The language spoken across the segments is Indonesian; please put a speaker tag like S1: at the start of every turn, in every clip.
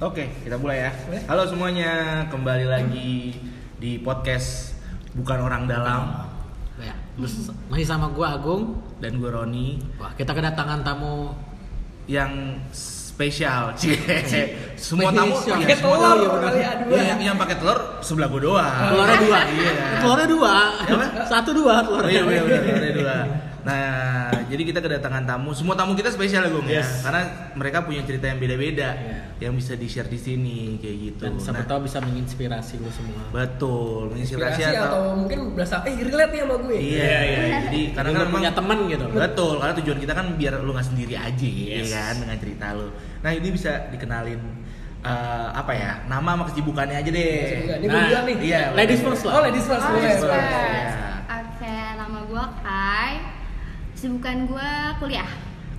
S1: Oke, kita mulai ya. Halo semuanya, kembali lagi di podcast Bukan Orang Dalam
S2: Ya, bers- masih sama gua Agung.
S1: dan gue Roni
S2: Wah, kita kedatangan tamu
S1: yang spesial. Cie. semua tamu
S2: Spesial.
S1: iya,
S3: Pakai
S1: semua
S3: telur
S1: tamu.
S3: kali
S1: Ya,
S3: aduan.
S1: yang, yang pakai telur sebelah gue doang.
S2: telurnya Iya, dua.
S1: Iya.
S2: Telurnya dua.
S1: Apa?
S2: Satu dua
S1: Oh iya
S2: telurnya.
S1: benar benar benar, dua. Nah, jadi kita kedatangan tamu. Semua tamu kita spesial Agung ya,
S2: Yes. Iya.
S1: karena mereka punya cerita yang beda-beda yang bisa di-share di sini kayak gitu.
S2: Dan siapa
S1: Nah,
S2: tahu bisa menginspirasi lu semua.
S1: betul, menginspirasi
S3: Inspirasi
S1: atau
S3: atau mungkin berasa eh relate nih sama gue.
S1: Iya,
S2: Iya,
S1: iya. Jadi karena
S2: Karena
S1: kan
S2: lu punya
S1: memang-
S2: teman gitu.
S1: Betul, karena tujuan kita kan biar lu nggak sendiri aja, ya
S2: Yes.
S1: kan dengan cerita lu. Nah ini bisa dikenalin eh, apa ya nama sama kesibukannya aja deh.
S3: Kesibukan. Ini
S2: Nah,
S3: gue duluan nih.
S1: Iya.
S2: Ladies first
S3: Oh,
S2: lah.
S3: ladies first.
S4: Oh,
S3: boleh.
S4: yes,
S1: Boleh.
S4: yes. Oke, nama gue Kai. Kesibukan gue kuliah.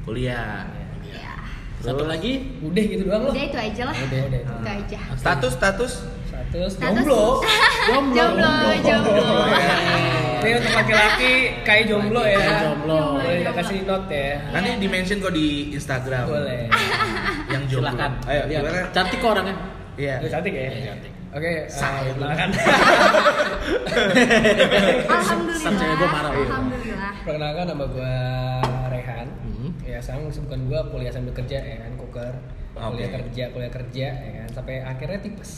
S1: Kuliah.
S4: Ya.
S2: Satu lagi.
S3: Udah gitu doang loh.
S4: Udah itu aja lah.
S2: Udah.
S3: Udah.
S4: Itu aja.
S1: Eh, Status status.
S3: Satu,
S4: Status-
S3: jomblo.
S2: Jomblo.
S4: Jomblo,
S1: Oh.
S4: jomblo.
S1: ya.
S3: Ini untuk laki-laki kayak jomblo ya.
S2: Kayak jomblo.
S3: Boleh kita kasih note ya.
S1: Nanti di mention kok di Instagram.
S3: Boleh.
S1: Yang jomblo.
S2: Silakan.
S1: Ayo
S2: Lihat.
S1: gimana?
S2: Cantik kok orangnya.
S1: Iya.
S3: Udah cantik ya.
S2: Iya, cantik.
S3: Oke, eh,
S1: Saya
S3: silakan.
S4: Alhamdulillah.
S2: Sampai gua marah, iya.
S4: Alhamdulillah.
S3: Perkenalkan nama gue Rehan.
S2: Hmm.
S3: Ya, sekarang kesibukan gue kuliah sambil kerja ya kan, cooker. Kuliah
S1: Oke.
S3: kerja, kuliah kerja ya kan, sampai akhirnya tipes.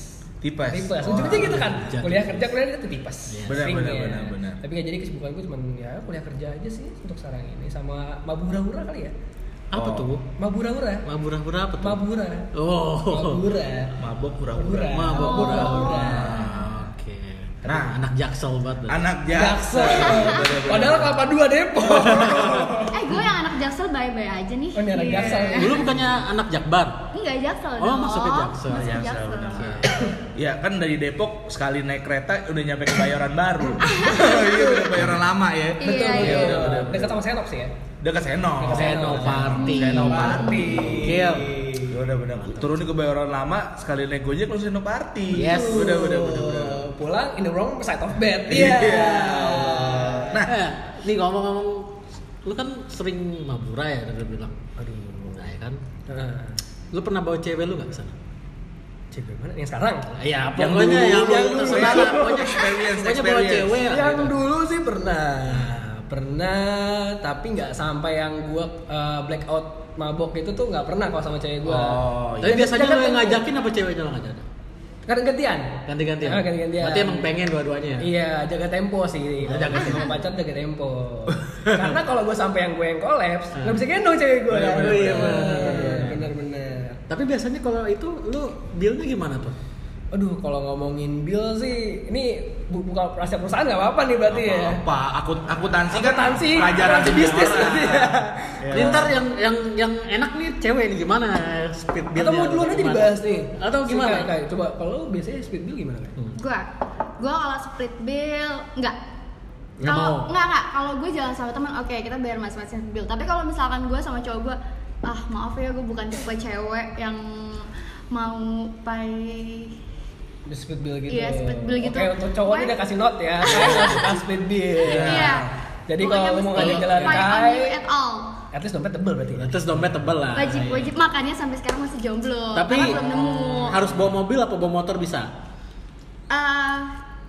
S1: Tipes.
S3: Tipes.
S1: Wah.
S3: Ujungnya gitu kan.
S2: Oh, Jatuh.
S3: Kuliah kerja kuliah itu tipes.
S2: Iya.
S1: Benar,
S3: Sering
S1: benar,
S3: ya.
S1: benar, benar.
S3: Tapi nggak jadi kesibukan gue cuma ya kuliah kerja aja sih untuk sekarang ini sama mabura-hura kali ya.
S2: Apa
S1: Oh.
S2: tuh?
S3: Mabura-hura.
S2: Mabura-bura apa tuh?
S3: Mabura.
S2: Oh.
S3: Mabura.
S1: Ya. Mabok pura-pura.
S3: Mabura.
S2: Mabura.
S3: Mabura.
S2: Oke.
S1: Nah.
S2: Nah, anak jaksel banget.
S1: Anak jaksa.
S3: Jaksel. Padahal kelapa dua Depok.
S4: Eh gue yang anak jaksel bye-bye aja nih.
S3: Oh, ini anak
S4: Iya.
S3: Jaksel.
S2: Dulu bukannya anak jakbar.
S4: Enggak jaksel
S2: Oh,
S4: dong.
S2: masuknya Jaksel. iya,
S4: Masuk
S1: Jaksa,
S4: jaksel.
S1: benar. Ya kan dari Depok sekali naik kereta udah nyampe ke Bayoran Baru. Iya udah Bayoran lama ya.
S4: Iya, iya.
S1: udah, udah, udah.
S3: Dekat sama Senop sih ya.
S1: Dekat Seno.
S3: Dekat
S2: Senoparty.
S1: Senoparty.
S2: Gokil.
S1: Ya udah benar. Turun di Kebayoran Lama sekali naik Gojek langsung Senoparty.
S2: Yes.
S1: Udah udah udah udah.
S3: Pulang in the wrong side of bed.
S1: Iya. Nah,
S2: Eh, nih ngomong-ngomong, lu kan sering mabura ya, udah bilang. Aduh, nah ya kan.
S3: Nah,
S2: Lu pernah bawa cewek lu nggak ke sana?
S3: cewek mana yang sekarang?
S2: Ya,
S1: Yang
S2: pokoknya
S1: dulu,
S2: yang,
S1: Iya, yang
S2: yang,
S1: dulu.
S2: terserah lah. Pokoknya,
S1: Experience,
S2: pokoknya bawa
S1: experience.
S2: cewek lah.
S3: yang
S2: gitu.
S3: dulu sih pernah pernah tapi nggak sampai yang gua eh, blackout mabok itu tuh nggak pernah kalau sama cewek gua kan
S1: Oh,
S2: Tapi
S3: Jadi
S2: iya. biasanya lu
S3: kita
S2: yang
S3: ketemu.
S2: ngajakin apa ceweknya lu ngajak?
S3: kan gantian
S2: Ganti-gantian.
S3: Ah, ganti-gantian.
S2: Berarti emang pengen dua-duanya ya?
S3: Iya, jaga tempo sih.
S2: Oh, jaga
S3: Kalau jaga
S2: tempo.
S3: sama pacar jaga tempo. Karena kalau gue sampai yang gue yang kolaps,
S2: Ah.
S3: nggak bisa gendong cewek Iya, gue.
S2: Bener, bener, bener.
S3: bener-bener.
S2: Tapi biasanya kalau itu lu dealnya gimana tuh?
S3: Aduh, kalau ngomongin bill sih, ini bu- buka rahasia perusahaan nggak apa-apa nih berarti ya.
S1: apa aku akuntansi kan
S3: Akuntansi,
S1: pelajaran
S3: akuntansi bisnis
S1: semua orang.
S3: berarti ya.
S1: Iya.
S2: Ini ntar yang yang yang enak nih cewek nih gimana speed
S3: Atau
S2: dealnya
S3: mau
S2: atau
S3: duluan aja
S2: gimana?
S3: dibahas nih.
S2: Atau
S3: Si
S2: gimana?
S3: Kak, Kak, coba kalau lu biasanya speed bill gimana Kak?
S4: Gua, gua kalau split bill enggak.
S2: Nggak mau.
S4: Kalau enggak enggak, kalau gue jalan sama teman oke kita bayar masing-masing split bill. Tapi kalau misalkan gue sama cowok gue, ah maaf ya gue bukan tipe cewek yang mau pay
S3: Split bill gitu.
S4: Iya, split bill gitu.
S3: Oke, untuk cowok ini
S4: Why?
S3: udah kasih note ya. Kalian suka split bill.
S4: Iya.
S3: Jadi
S4: Pokoknya
S3: kalau lu mau
S4: mesti
S3: ngajak jalan
S4: fight on
S3: kai,
S4: you at all.
S3: at least dompet tebel berarti. kan?
S2: Terus dompet tebel lah.
S4: Wajib
S2: Iya.
S4: wajib makanya sampai sekarang masih jomblo.
S2: Tapi Oh.
S4: Karena kan belum nemu.
S2: harus bawa mobil apa bawa motor bisa?
S4: Eh,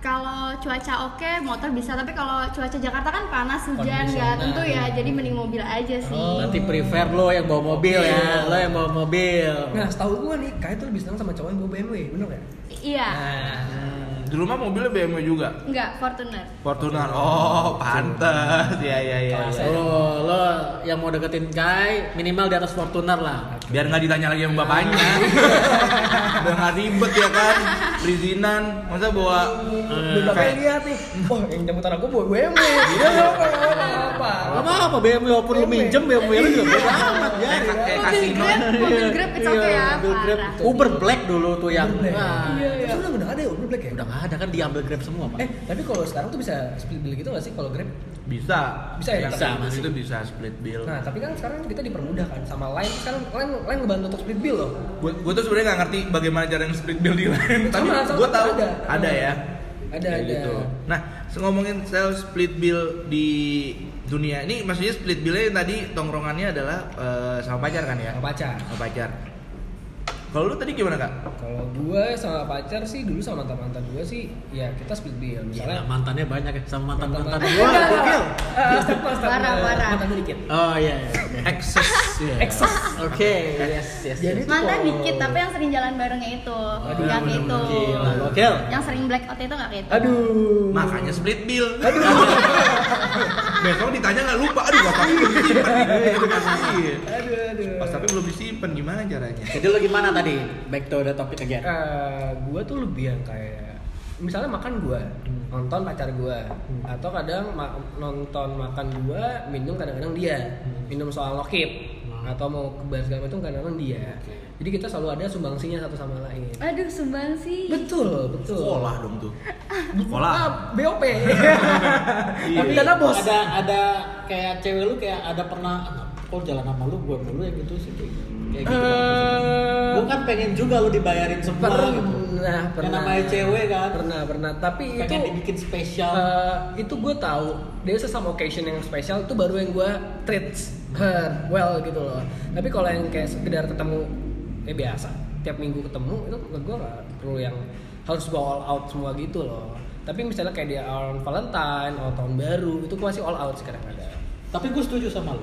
S4: kalau cuaca oke motor bisa tapi kalau cuaca Jakarta kan panas hujan
S3: Kondisi.
S4: ya tentu ya jadi mending mobil aja sih.
S2: Nanti prefer lo yang bawa mobil ya, lo yang bawa mobil.
S3: Nah, setahu gua nih, Kai tuh lebih senang sama cowok yang bawa BMW, bener gak?
S4: Iya.
S2: Nah,
S1: Hmm, di rumah mobilnya BMW juga
S4: Enggak, Fortuner.
S1: Fortuner oh pantes ya ya ya, ya.
S2: Nah, Lo lo yang mau deketin Kai minimal di atas Fortuner lah.
S1: biar nggak ditanya lagi sama bapaknya udah nggak ribet ya kan perizinan masa bawa eh,
S3: Lu bakal lihat nih, oh yang jemput anak gua bawa BMW, dia nggak apa-apa.
S2: Apa apa BMW walaupun lo minjem BMW lo juga beda
S3: Iya.
S2: amat ya.
S1: kayak kayak
S4: Mobil
S1: kasino
S4: Grab, mobil
S2: Iya,
S4: Grab it's
S2: iya,
S4: okay ya.
S2: mobil Grab.
S4: parah.
S2: Uber Black dulu tuh yang. Nah,
S3: Iya, iya. Terus udah nggak ada ya Uber Black ya?
S2: Udah nggak ada kan diambil Grab semua pak.
S3: Eh, tapi kalau sekarang tuh bisa split bill gitu nggak sih kalau Grab?
S1: bisa
S3: Bisa ya,
S1: bisa
S2: Kak?
S1: itu bisa split bill
S3: Nah, tapi kan sekarang kita dipermudah kan sama Line. Sekarang Line, Line ngebantu untuk split bill loh.
S1: gue gue tuh sebenarnya nggak ngerti bagaimana cara yang split bill di lain tapi
S3: Sama, sama,
S1: gue tahu
S3: ada.
S1: ada ya
S3: Ada,
S1: Kayak
S3: ada.
S1: nah se- ngomongin sel split bill di dunia ini maksudnya split billnya yang tadi tongkrongannya adalah eh, sama pacar kan ya
S3: Sama pacar.
S1: sama pacar Kalau lu tadi gimana kak?
S3: Kalau gue sama pacar sih dulu sama mantan mantan gue sih ya kita split bill
S2: Gila,
S3: misalnya.
S2: mantannya banyak ya sama mantan mantan
S3: Iya. Mantan-
S2: gua.
S3: Enggak,
S1: gokil.
S3: enggak. Eh, step by step.
S4: Parah, parah.
S3: Mantan gue dikit.
S2: Oh iya, iya, oke.
S1: Excess ya.
S3: Excess.
S2: Oke, yes, yes. yes.
S3: Jadi
S2: Iya,
S3: tuh
S4: Mantan
S3: kalau-
S4: dikit, tapi yang sering jalan barengnya itu, nggak kayak
S2: gitu.
S4: itu.
S2: Gila, gokil.
S4: Yang sering blackout itu nggak kayak itu.
S3: Aduh.
S1: Makanya split bill. Besok ditanya nggak lupa, aduh bapak belum disimpan nih. Iya.
S3: Aduh aduh.
S1: Pas tapi belum disimpan gimana caranya?
S2: Jadi lo gimana tadi? Back to the topic again.
S3: Eh, gue tuh lebih yang kayak misalnya makan gue
S2: Hmm.
S3: nonton pacar gue atau kadang ma- nonton makan gue minum kadang-kadang dia
S2: Hmm.
S3: minum soal lokip
S2: Hmm.
S3: atau mau ke bar segala macam kadang-kadang dia
S2: Oke.
S3: jadi kita selalu ada sumbangsinya satu sama lain
S4: Aduh, sumbang sih.
S3: betul betul
S1: Sekolah dong tuh.
S3: ah,
S1: Sekolah.
S3: BOP
S1: Iya.
S3: tapi karena bos
S2: Ada ada kayak cewek lu kayak ada pernah "Ah, kok jalan sama lu gua dulu yang gitu sih kayak kayak gitu.
S3: Eh,
S2: Gua kan pengen juga lu dibayarin semua
S3: pernah
S2: gitu. Yang
S3: pernah
S2: namanya cewek kan.
S3: pernah pernah tapi
S2: Pengen
S3: itu
S2: dibikin spesial.
S3: Eh, itu gue tahu dari sesama occasion yang spesial itu baru yang gue treats her well gitu loh tapi kalau yang kayak sekedar ketemu ya biasa tiap minggu ketemu itu gue gak perlu yang harus gue all out semua gitu loh tapi misalnya kayak di on Valentine atau tahun baru itu gue masih all out sekarang ada
S2: Tapi gua setuju sama lu.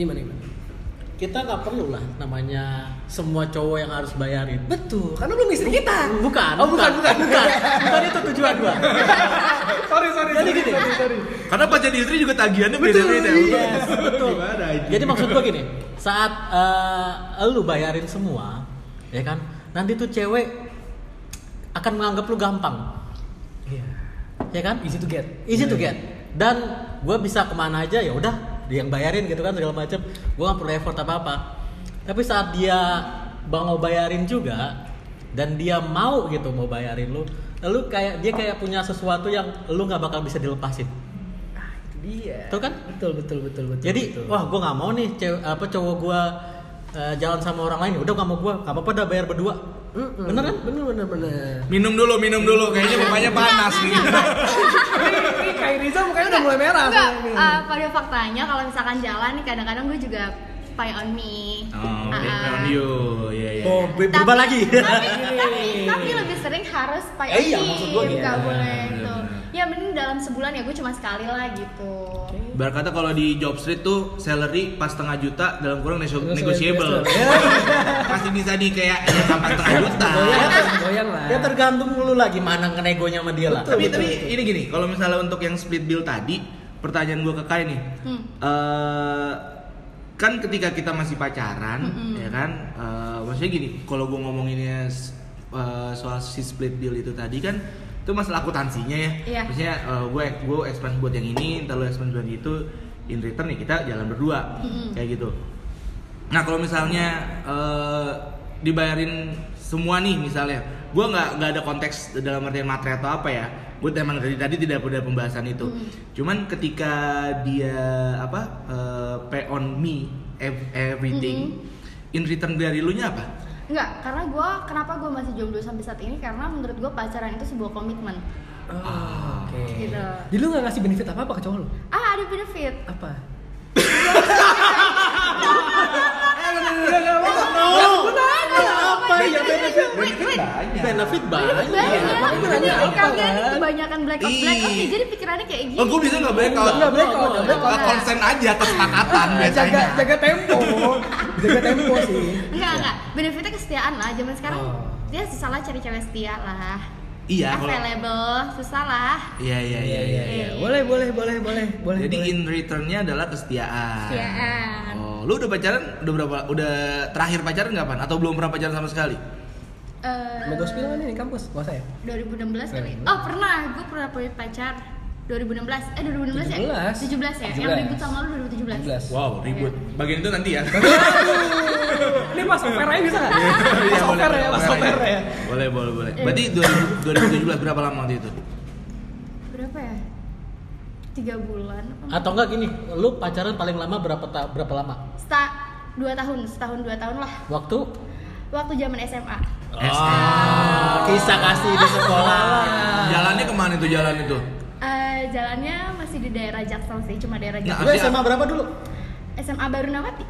S3: gimana gimana
S2: Kita nggak perlu lah namanya semua cowok yang harus bayarin.
S3: betul karena belum istri kita
S2: Bukan.
S3: oh bukan bukan
S2: bukan. Bukan itu tujuan gua.
S3: sorry sorry sorry
S2: gini.
S3: sorry, sorry.
S1: Karena pas jadi istri juga tagihannya
S3: Betul,
S1: beda-beda.
S2: yes,
S1: betul. Gimana? anjing?
S2: Jadi maksud gua gini, saat eh, lu bayarin semua, ya kan, nanti tuh cewek akan menganggap lu gampang,
S3: Iya.
S2: ya kan?
S3: easy to get
S2: Easy to get. Dan gua bisa kemana aja ya udah, dia yang bayarin gitu kan segala macem. Gua nggak perlu effort apa apa. Tapi saat dia bang mau bayarin juga, dan dia mau gitu mau bayarin lu, lu kayak dia kayak punya sesuatu yang lu nggak bakal bisa dilepasin.
S3: itu dia
S2: Tuh kan?
S3: betul betul betul betul
S2: Jadi
S3: betul.
S2: wah gue nggak mau nih cewek apa cowok gue jalan sama orang lain. Udah nggak mau gue, nggak apa-apa dah bayar berdua.
S3: Mm-mm.
S2: Bener kan?
S3: Bener bener bener.
S1: Minum dulu, minum dulu. Kayaknya bapaknya panas nih.
S3: Ini kayak Riza mukanya udah mulai merah.
S4: Enggak,
S3: nih.
S4: eh, pada faktanya kalau misalkan jalan nih kadang-kadang gue juga pay on me.
S1: Oh,
S4: Ah,
S1: pay
S4: ah.
S1: on you. Iya, iya.
S2: Oh, be- berubah lagi.
S4: tapi, tapi, tapi lebih sering harus pay
S2: Eh,
S4: on
S2: iya,
S4: me.
S2: maksud gua gitu.
S4: Nggak boleh
S1: Bener,
S4: itu.
S1: bener.
S4: Ya mending dalam sebulan ya gue cuma sekali lah gitu.
S1: Berkata kalau di job street tuh salary pas setengah juta dalam kurang nego-
S3: Terus
S1: negotiable.
S3: terus,
S1: Masih bisa di kayak ya sampai setengah juta.
S3: Goyang lah, goyang lah.
S2: ya tergantung lu lah gimana ngenegonya sama dia lah.
S1: tapi tapi ini gini, kalau misalnya untuk yang split bill tadi, pertanyaan gua ke Kai nih.
S4: Hmm.
S1: Eh, kan ketika kita masih pacaran, ya kan? eh, maksudnya gini, kalau gua ngomonginnya s- eh, soal si split bill itu tadi kan itu masalah akuntansinya ya.
S4: Iya.
S1: Maksudnya eh, gue gue expense buat yang ini, ntar lu expense buat itu, in return ya kita jalan berdua.
S4: Mm-mm.
S1: Kayak gitu. Nah, kalau misalnya eh, dibayarin semua nih misalnya, gue nggak nggak ada konteks dalam artian materi atau apa ya. Gue emang dari tadi tidak ada pembahasan itu. Cuman ketika dia apa eh, pay on me ev- everything, in return dari lu nya apa?
S4: Enggak, karena gue kenapa gue masih jomblo sampai saat ini karena menurut gue pacaran itu sebuah komitmen.
S3: Oh, Oke.
S4: Gitu.
S3: Di lu nggak ngasih benefit apa apa ke cowok lu?
S4: Ah ada benefit.
S3: Apa?
S2: Oh, apa ya benefit?
S1: Benefit banyak.
S2: Benefit banyak.
S4: Banyak.
S3: Iya, makanya
S4: Jadi
S3: nanya apa,
S4: kalian
S3: kan?
S4: kebanyakan blackout
S1: Ih.
S4: blackout ya, jadi pikirannya kayak gitu.
S1: Oh, gue bisa nggak bayar kalau
S3: Nggak blackout, nggak
S4: blackout.
S1: Eh, konsen aja kesepakatan
S3: Jaga
S1: biasanya.
S3: Eh, jaga tempo. jaga tempo sih.
S4: Enggak, enggak. Benefitnya kesetiaan lah. Zaman sekarang
S3: Oh.
S4: dia susah lah cari cewek setia lah.
S1: Iya, kalau
S4: Available, susah lah.
S1: Iya iya iya iya.
S4: iya.
S3: Eh. Boleh boleh boleh boleh boleh.
S1: Jadi
S3: boleh.
S1: in returnnya adalah kesetiaan.
S4: Kesetiaan.
S1: Oh, lu udah pacaran udah berapa? Udah terakhir pacaran nggak pan? Atau belum pernah pacaran sama sekali?
S4: Eh,
S3: mau gospel kan ini di kampus, puasa ya?
S4: 2016 kali. Oh, pernah. Gue pernah punya pacar 2016. Eh, 2016 ya?
S3: 17.
S4: 17 ya? Yang
S3: 17.
S4: ribut sama lu 2017.
S3: 17.
S1: Wow, ribut.
S3: Iya.
S1: Bagian itu nanti ya.
S3: Ini mas over aja bisa nggak? Mas
S1: Iya, boleh,
S3: over
S1: boleh,
S3: ya, mas
S1: boleh.
S3: over ya.
S1: Boleh, boleh, boleh. Berarti 2000 2017 berapa lama waktu itu?
S4: Berapa ya? 3 bulan.
S2: Atau enggak gini, lu pacaran paling lama berapa ta- berapa lama?
S4: Sta 2 tahun, setahun 2 tahun lah.
S2: Waktu?
S4: Waktu zaman SMA.
S2: Ah, kisah kasih di sekolah.
S1: Jalannya kemana itu jalan itu?
S4: Eh, jalannya masih di daerah Jaksel sih, cuma daerah
S1: Nah,
S4: Jaksel.
S2: Lu SMA berapa dulu?
S4: SMA Baru Nawati.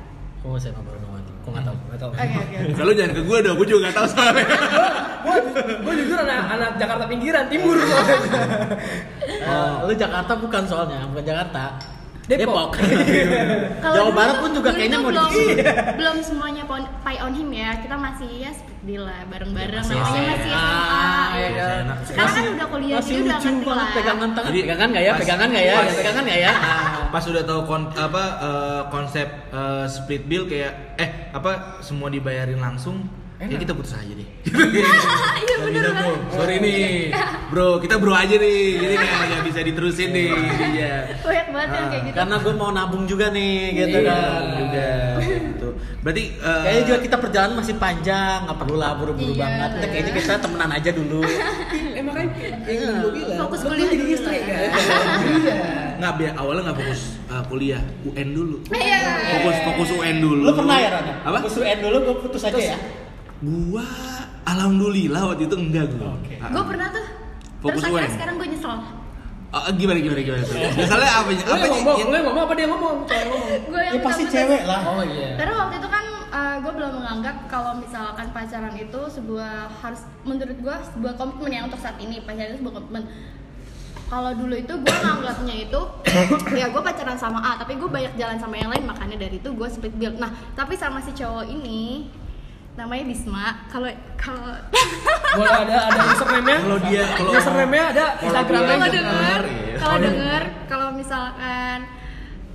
S2: Oh, iya. SMA baru Nawati. Aku nggak tahu.
S3: Gak tau.
S4: Oke oke.
S1: Kalau jangan ke gue dong, gue juga gak tahu soalnya.
S3: Gue jujur anak, anak Jakarta pinggiran, timur soalnya.
S2: Eh, lu Jakarta bukan soalnya, bukan Jakarta.
S3: Depok.
S4: Kalau
S2: Jawa
S4: dulu
S2: Barat
S4: tuh-
S2: pun juga
S4: dulu
S2: kayaknya
S4: tuh
S2: mau
S4: belum,
S2: diisi.
S4: belum semuanya pon, pie on him ya. Kita masih ya seperti lah bareng-bareng.
S2: Masih
S4: Namanya
S2: SMA.
S4: masih
S2: Ah,
S4: SMA.
S2: iya
S4: gitu.
S2: kan?
S1: Enak.
S4: Sekarang kan udah kuliah
S2: masih
S4: jadi udah
S2: lucu
S4: ngerti
S2: banget
S4: lah.
S2: pegangan tangan.
S1: Jadi,
S2: pegangan nggak ya?
S1: pas-
S2: Pegangan nggak ya?
S1: pas-
S2: Pegangan nggak
S3: Iya.
S2: ya?
S1: pas udah tahu kon- apa eh, konsep eh, split bill kayak eh apa semua dibayarin langsung ya kita putus aja deh
S4: Iya
S1: Gak
S4: bener
S1: bisa, bro.
S4: banget.
S1: sorry nih bro kita bro aja nih jadi kayak nggak bisa diterusin nih iya
S4: Banyak banget yang kayak gitu.
S2: Karena gue mau nabung juga nih, gitu
S1: Iya,
S2: kan.
S1: juga gitu berarti eh,
S2: Kayaknya juga kita perjalanan masih panjang, nggak perlu lah buru-buru
S4: Iya.
S2: banget. Kita kayaknya kita temenan aja dulu.
S3: Eh makanya yang gue bilang.
S4: Fokus
S3: lu
S4: kuliah
S3: jadi
S4: dulu
S3: istri
S4: lah.
S3: kan. Iya.
S2: Eh.
S1: nggak biar awalnya nggak fokus eh, kuliah UN dulu
S4: Iya.
S1: fokus fokus UN dulu
S2: Lu pernah ya, Rana?
S1: apa
S2: Aku suruh end dulu, gue putus aja ya?
S1: gua alhamdulillah waktu itu enggak gua
S2: Oke.
S1: Ah.
S4: Gue pernah tuh.
S1: Fokus
S4: Terus akhirnya
S2: ya?
S1: UN.
S4: sekarang gue nyesel.
S1: Oh, gimana gimana gimana? Misalnya apa?
S3: Lu
S1: Apa
S3: yang
S1: sih?
S3: ngomong, lu yang ngomong apa dia ngomong? Cewek ngomong.
S4: Gue yang
S2: Ya pasti
S4: minta putus.
S2: cewek lah.
S3: Oh iya.
S4: Karena waktu itu kan gue belum menganggap kalau misalkan pacaran itu sebuah harus menurut gue sebuah komitmen ya untuk saat ini pacaran itu sebuah komitmen. Kalau dulu itu gue nganggapnya itu ya gue pacaran sama A tapi gue banyak jalan sama yang lain makanya dari itu gue split bill. Nah tapi sama si cowok ini namanya Bisma kalau kalau
S3: Boleh ada ada username-nya?
S1: Kalau dia kalau
S3: Username-nya ada
S1: Kalau
S3: Instagram-nya.
S1: dia-
S4: kalau
S1: Jangan
S4: denger
S1: ya.
S4: kalau denger kalau misalkan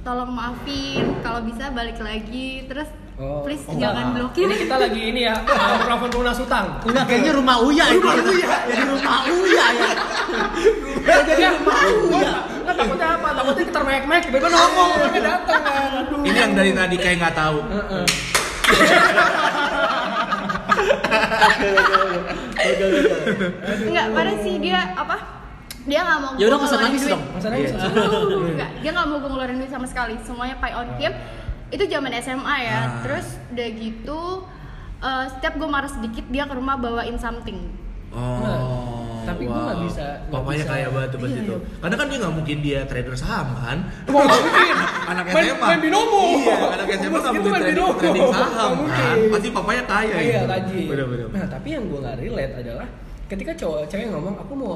S4: tolong maafin kalau bisa balik lagi terus
S3: Oh.
S4: please
S2: Oh,
S4: jangan blokir
S3: Ini kita lagi ini ya, uh, plafon lunas utang.
S2: Enggak, kayaknya rumah Uya itu. Jadi rumah Uya ya.
S3: Jadi rumah Uya. Kan takutnya apa? Takutnya kita mek-mek, tiba-tiba nongol, orangnya datang kan. Aduh.
S1: ini yang dari tadi kayak nggak tahu.
S2: Eh.
S3: Heeh.
S4: Enggak, padahal sih dia apa? Dia nggak mau.
S2: Ya udah
S4: gua
S2: nggak usah
S4: ngeluarin
S2: nangis
S4: duit.
S2: dong.
S3: Masa nangis?
S1: Iya.
S4: Uh, Enggak, dia nggak mau gue ngeluarin duit sama sekali. Semuanya pay on him. Itu zaman SMA ya.
S1: Ah.
S4: Terus udah gitu, eh, setiap gue marah sedikit dia ke rumah bawain something.
S1: Oh.
S3: Tapi gua nggak bisa, nggak
S1: Papanya
S3: bisa.
S1: kayak batu batu
S4: Iya,
S1: itu.
S4: iya.
S1: Karena kan dia nggak mungkin dia trader saham kan.
S3: Wah, nggak mungkin.
S1: Anak
S3: Main-
S1: SMA.
S3: main binomo.
S1: Iya, anak SMA nggak
S3: Bos itu
S1: mungkin
S3: main
S1: trading,
S3: binomo.
S1: trading saham
S3: Nggak
S1: kan.
S3: mungkin.
S1: Pasti papanya kaya.
S3: Iya,
S1: gitu.
S3: kaji.
S1: Bener bener.
S3: Nah, tapi yang gue nggak relate adalah ketika cowok cewek ngomong, aku mau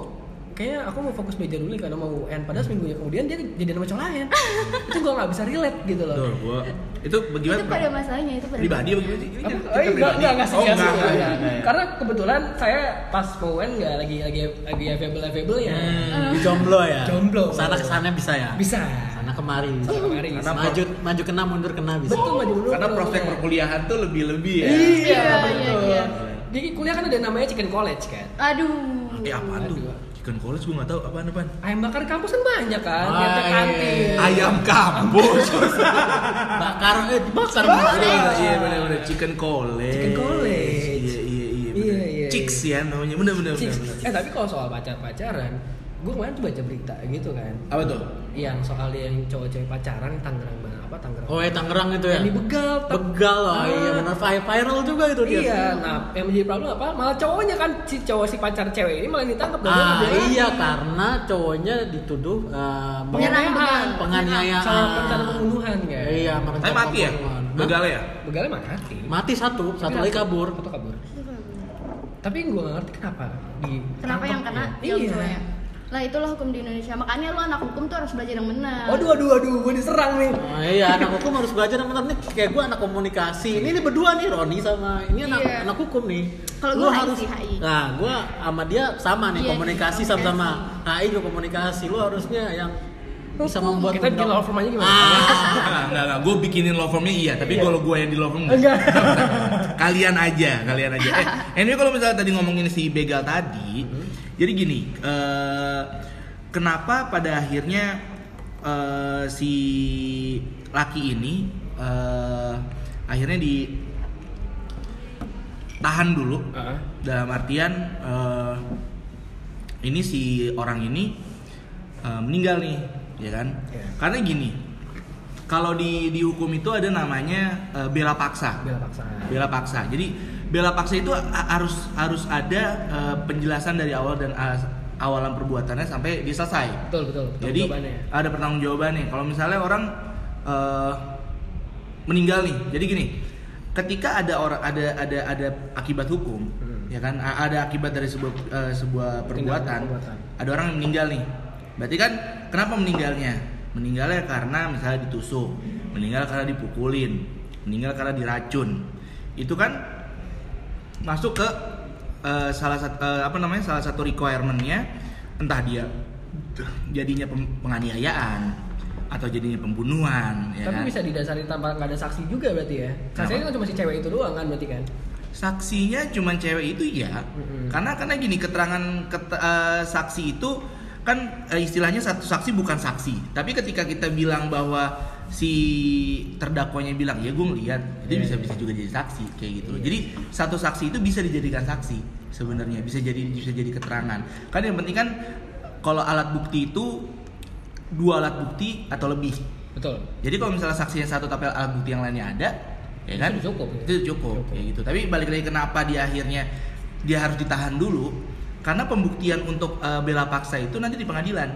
S3: kayaknya aku mau fokus belajar dulu nih karena mau UN. Padahal
S1: Hmm.
S3: seminggunya kemudian dia jadi nama cowok lain. itu gue nggak bisa relate gitu loh.
S1: Betul, gua. Itu bagaimana?
S4: itu pada masalahnya itu pada.
S1: Pribadi apa gimana sih? Ini kan kita
S3: Apa? Eh, enggak,
S1: pribadi.
S3: enggak, enggak,
S1: Oh,
S3: serius,
S1: enggak,
S3: enggak,
S1: enggak,
S3: enggak.
S1: enggak.
S3: Karena kebetulan saya pas mau UN enggak lagi lagi lagi available available ya.
S1: Hmm.
S2: Jomblo ya.
S3: Jomblo.
S2: Sana kesana bisa ya.
S3: Bisa.
S2: Sana kemari.
S3: Sana kemari.
S2: Sana maju maju kena mundur kena bisa.
S3: Betul maju dulu.
S1: Karena prospek perkuliahan tuh lebih-lebih ya.
S3: Iya,
S4: Iya, iya,
S3: betul.
S4: iya.
S3: Jadi kuliah kan ada namanya chicken college kan.
S4: Aduh.
S1: Eh
S2: Iya.
S1: apaan tuh?
S3: Aduh.
S1: Chicken college gua nggak tahu apaan apaan.
S3: Ayam bakar kampus kan banyak kan, yang ke
S2: Wah,
S3: kantin.
S2: Ah, iya.
S1: Ayam kampus.
S2: Bakar eh bakar.
S1: Iya, iya benar benar chicken college.
S3: Chicken college.
S1: Iya iya iya.
S3: Iya,
S1: bener.
S3: iya,
S1: Chicks
S3: iya.
S1: ya namanya. Benar benar benar.
S3: Cis.
S2: iya.
S1: benar.
S3: Eh tapi kalau soal pacar-pacaran, gue kemarin tuh baca berita gitu kan.
S1: Apa tuh?
S3: Yang soal dia yang cowok-cowok pacaran Tangerang mana apa Tangerang.
S2: Oh ya Tangerang itu ya.
S3: Yang dibegal. Tang-
S2: Begal lah,
S3: Ah,
S2: iya benar Vi- viral juga itu dia.
S3: Iya, nah yang menjadi problem apa? Malah cowoknya kan si cowok si pacar cewek ini malah ditangkap dan
S2: Ah,
S3: dia ngambil.
S2: iya karena cowoknya dituduh eh,
S4: Penganiayaan.
S2: penganiayaan, penganiayaan.
S3: Sama perencanaan pembunuhan kan.
S2: Iya, merencanakan
S1: Tapi mati ya?
S2: pembunuhan. Hah?
S1: Begalnya ya?
S3: Begalnya mati.
S2: Nah, Mati satu, satu lagi kabur.
S3: Satu kabur. Tapi gue gak ngerti kenapa di
S4: Kenapa yang kena?
S3: Iya.
S4: Yang cowoknya. Lah itulah hukum di Indonesia. Makanya lu anak hukum tuh harus belajar yang benar.
S3: Aduh aduh aduh, gue diserang nih.
S2: Oh, iya, anak hukum harus belajar yang benar nih. Kayak gue anak komunikasi. Ini, ini berdua nih Roni sama ini anak
S4: Iya.
S2: anak hukum nih.
S4: Kalau
S2: Lu
S4: gua HI sih, HI.
S2: Nah, gue sama dia sama nih
S4: Iya,
S2: komunikasi
S4: komunikasi.
S2: sama-sama. HI juga komunikasi. Lu harusnya yang bisa membuat
S3: Kita bikin law firm aja gimana?
S2: Ah,
S1: Enggak, enggak, enggak. Gue bikinin love formnya iya, tapi kalau gue yang di love form enggak.
S3: Enggak.
S1: kalian aja, kalian aja. Eh, anyway kalau misalnya tadi ngomongin si begal tadi, jadi gini, eh, kenapa pada akhirnya eh, si laki ini eh, akhirnya di tahan dulu
S3: Heeh.
S1: dalam artian eh, ini si orang ini eh, meninggal nih ya kan
S3: Iya.
S1: karena gini kalau di di hukum itu ada namanya eh, bela paksa
S3: Bela paksaan.
S1: bela paksa jadi bela paksa itu a- harus harus ada eh, penjelasan dari awal dan as- awalan perbuatannya sampai dia selesai
S3: Betul betul. betul
S1: jadi
S3: jawabannya.
S1: ada pertanggung jawabannya kalau misalnya orang eh, meninggal nih jadi gini ketika ada orang ada ada ada akibat hukum
S3: Hmm.
S1: ya kan A- ada akibat dari sebuah eh, sebuah perbuatan
S3: perbuatan.
S1: ada orang yang meninggal nih berarti kan kenapa meninggalnya meninggalnya karena misalnya ditusuk meninggal karena dipukulin meninggal karena diracun itu kan masuk ke eh, salah satu eh, apa namanya salah satu requirementnya entah dia jadinya pem- penganiayaan atau jadinya pembunuhan ya
S3: Tapi
S1: kan?
S3: bisa didasari tanpa nggak ada saksi juga berarti ya. Saksinya kan cuma si cewek itu doang kan berarti kan.
S1: saksinya cuman cewek itu ya
S3: Mm-mm.
S1: karena karena gini keterangan ket- eh, saksi itu kan eh, istilahnya satu saksi bukan saksi tapi ketika kita bilang bahwa si terdakwanya bilang ya gue ngeliat itu
S3: Iya,
S1: bisa
S3: iya.
S1: bisa juga jadi saksi kayak gitu loh.
S3: Iya.
S1: jadi satu saksi itu bisa dijadikan saksi sebenarnya bisa jadi bisa jadi keterangan kan yang penting kan kalau alat bukti itu dua alat bukti atau lebih
S3: Betul.
S1: jadi kalau misalnya saksinya satu tapi alat bukti yang lainnya ada, ya kan?
S3: Itu cukup.
S1: Itu cukup,
S3: Cukup.
S1: kayak gitu. Tapi balik lagi kenapa di akhirnya dia harus ditahan dulu? Karena pembuktian untuk eh, bela paksa itu nanti di pengadilan.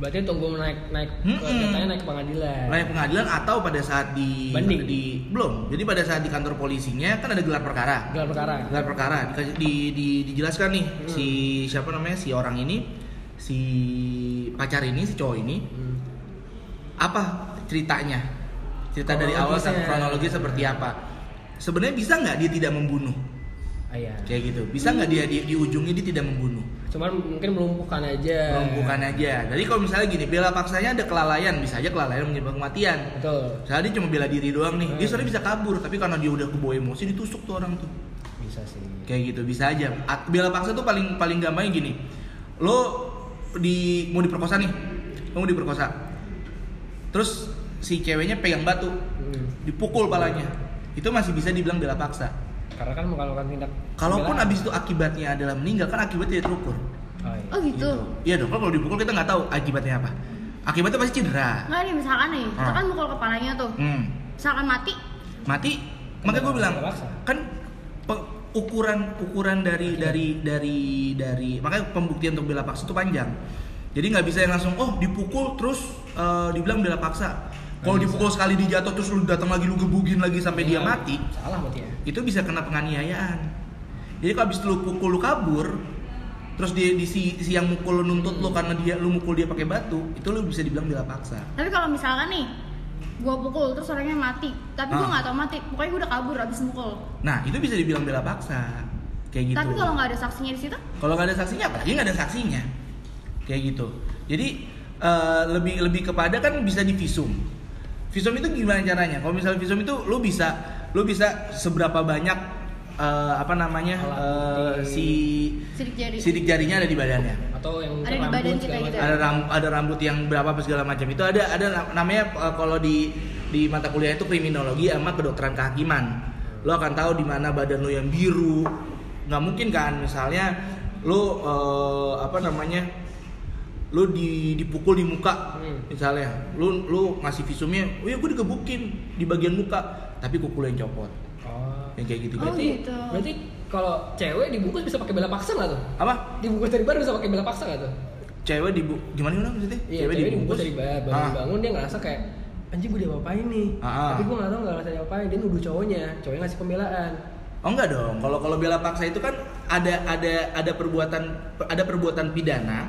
S3: Berarti tunggu naik naik
S1: Mm-mm.
S3: ke- datanya naik ke pengadilan.
S1: Layak pengadilan atau pada saat di
S3: Eh. Banding.
S1: di belum. Jadi pada saat di kantor polisinya kan ada gelar perkara.
S3: Gelar perkara.
S1: Gelar perkara Dikasih- di, di, dijelaskan nih si
S3: Hmm.
S1: siapa namanya si orang ini si pacar ini si cowok ini
S3: Hmm.
S1: apa ceritanya cerita dari awal
S3: Kronologisnya.
S1: sampai kronologi seperti apa sebenarnya bisa nggak dia tidak membunuh
S3: Ah, iya.
S1: kayak gitu bisa nggak dia di, di ujungnya dia tidak membunuh
S3: Cuman mungkin melumpuhkan aja.
S1: melumpuhkan aja jadi kalau misalnya gini bela paksanya ada kelalaian bisa aja kelalaian menyebabkan kematian
S3: Betul.
S1: misalnya dia cuma bela diri doang nih dia
S3: Hmm.
S1: sebenarnya bisa kabur tapi karena dia udah kebawa emosi ditusuk tuh orang tuh
S3: Bisa sih.
S1: kayak gitu bisa aja A- bela paksa tuh paling paling gampangnya gini lo di mau diperkosa nih lo mau diperkosa terus si ceweknya pegang batu
S3: Hmm.
S1: dipukul palanya itu masih bisa dibilang bela paksa
S3: Karena kan melakukan tindak.
S1: kalaupun
S3: pembelaan.
S1: abis itu akibatnya adalah meninggal kan akibatnya tidak terukur
S3: Oh, iya.
S4: Oh gitu.
S1: iya dong kalau dipukul kita nggak tahu akibatnya apa akibatnya pasti cedera
S4: Enggak nih misalkan nih, kita
S1: Ah.
S4: kan mukul kepalanya tuh.
S1: hmm.
S4: Misalkan mati,
S1: mati makanya gue bilang
S3: Terpaksa.
S1: kan pe- ukuran ukuran dari dari dari dari makanya pembuktian untuk bela paksa itu panjang jadi nggak bisa yang langsung oh dipukul terus eh, dibilang bela paksa kalau dipukul sekali dijatuh terus lu datang lagi lu gebugin lagi sampai dia
S3: Iya.
S1: mati
S3: Salah berarti ya.
S1: itu bisa kena penganiayaan jadi kalau abis lu pukul lu kabur terus dia di si, si yang mukul lu nuntut lu karena dia lu mukul dia pakai batu itu lu bisa dibilang bela paksa
S4: tapi kalau misalkan nih gua pukul terus orangnya mati, tapi gua
S1: Ah.
S4: nggak tahu mati. Pokoknya gua udah kabur abis mukul.
S1: nah itu bisa dibilang bela paksa kayak gitu
S4: Tapi kalau nggak ada saksinya di situ,
S1: Kalau nggak ada saksinya, apalagi nggak ada saksinya, kayak gitu. Jadi eh, lebih lebih kepada kan bisa di visum. Visum itu gimana caranya? Kalau misalnya visum itu lu bisa lu bisa seberapa banyak eh, apa namanya
S3: Alat
S1: eh,
S3: bukti.
S1: si
S4: sidik jari.
S1: sidik jarinya ada di badannya.
S3: Atau yang
S4: Ada di
S3: rambut
S4: badan kita
S3: segala
S4: gitu
S3: macam.
S1: Ada ram- ada rambut yang berapa apa segala macam itu ada ada na- namanya eh, kalau di di mata kuliah itu kriminologi sama kedokteran kehakiman. Lo akan tahu di mana badan lo yang biru. nggak mungkin kan misalnya lo eh, apa namanya? Lo di dipukul di muka
S3: Hmm.
S1: misalnya. Lo lo ngasih visumnya, "Oh ya gue digebukin di bagian muka." Tapi kuku lo yang copot.
S3: Oh.
S1: Yang kayak gitu.
S4: Oh,
S1: gitu.
S3: Berarti,
S4: gitu.
S3: berarti kalau cewek dibungkus bisa pakai bela paksa nggak tuh?
S1: Apa?
S3: Dibungkus dari badan bisa pakai bela paksa nggak tuh?
S1: Cewek di gimana gimana maksudnya?
S3: Iya, cewek, dibungkus dari ba- baru
S1: Ah.
S3: bangun dia ngerasa kayak anjing gue diapain nih.
S1: Ah, ah.
S3: Tapi gue nggak tahu nggak ngerasa diapain. Dia nuduh cowoknya, cowoknya ngasih pembelaan.
S1: Oh enggak dong. Kalau kalau bela paksa itu kan ada ada ada perbuatan ada perbuatan pidana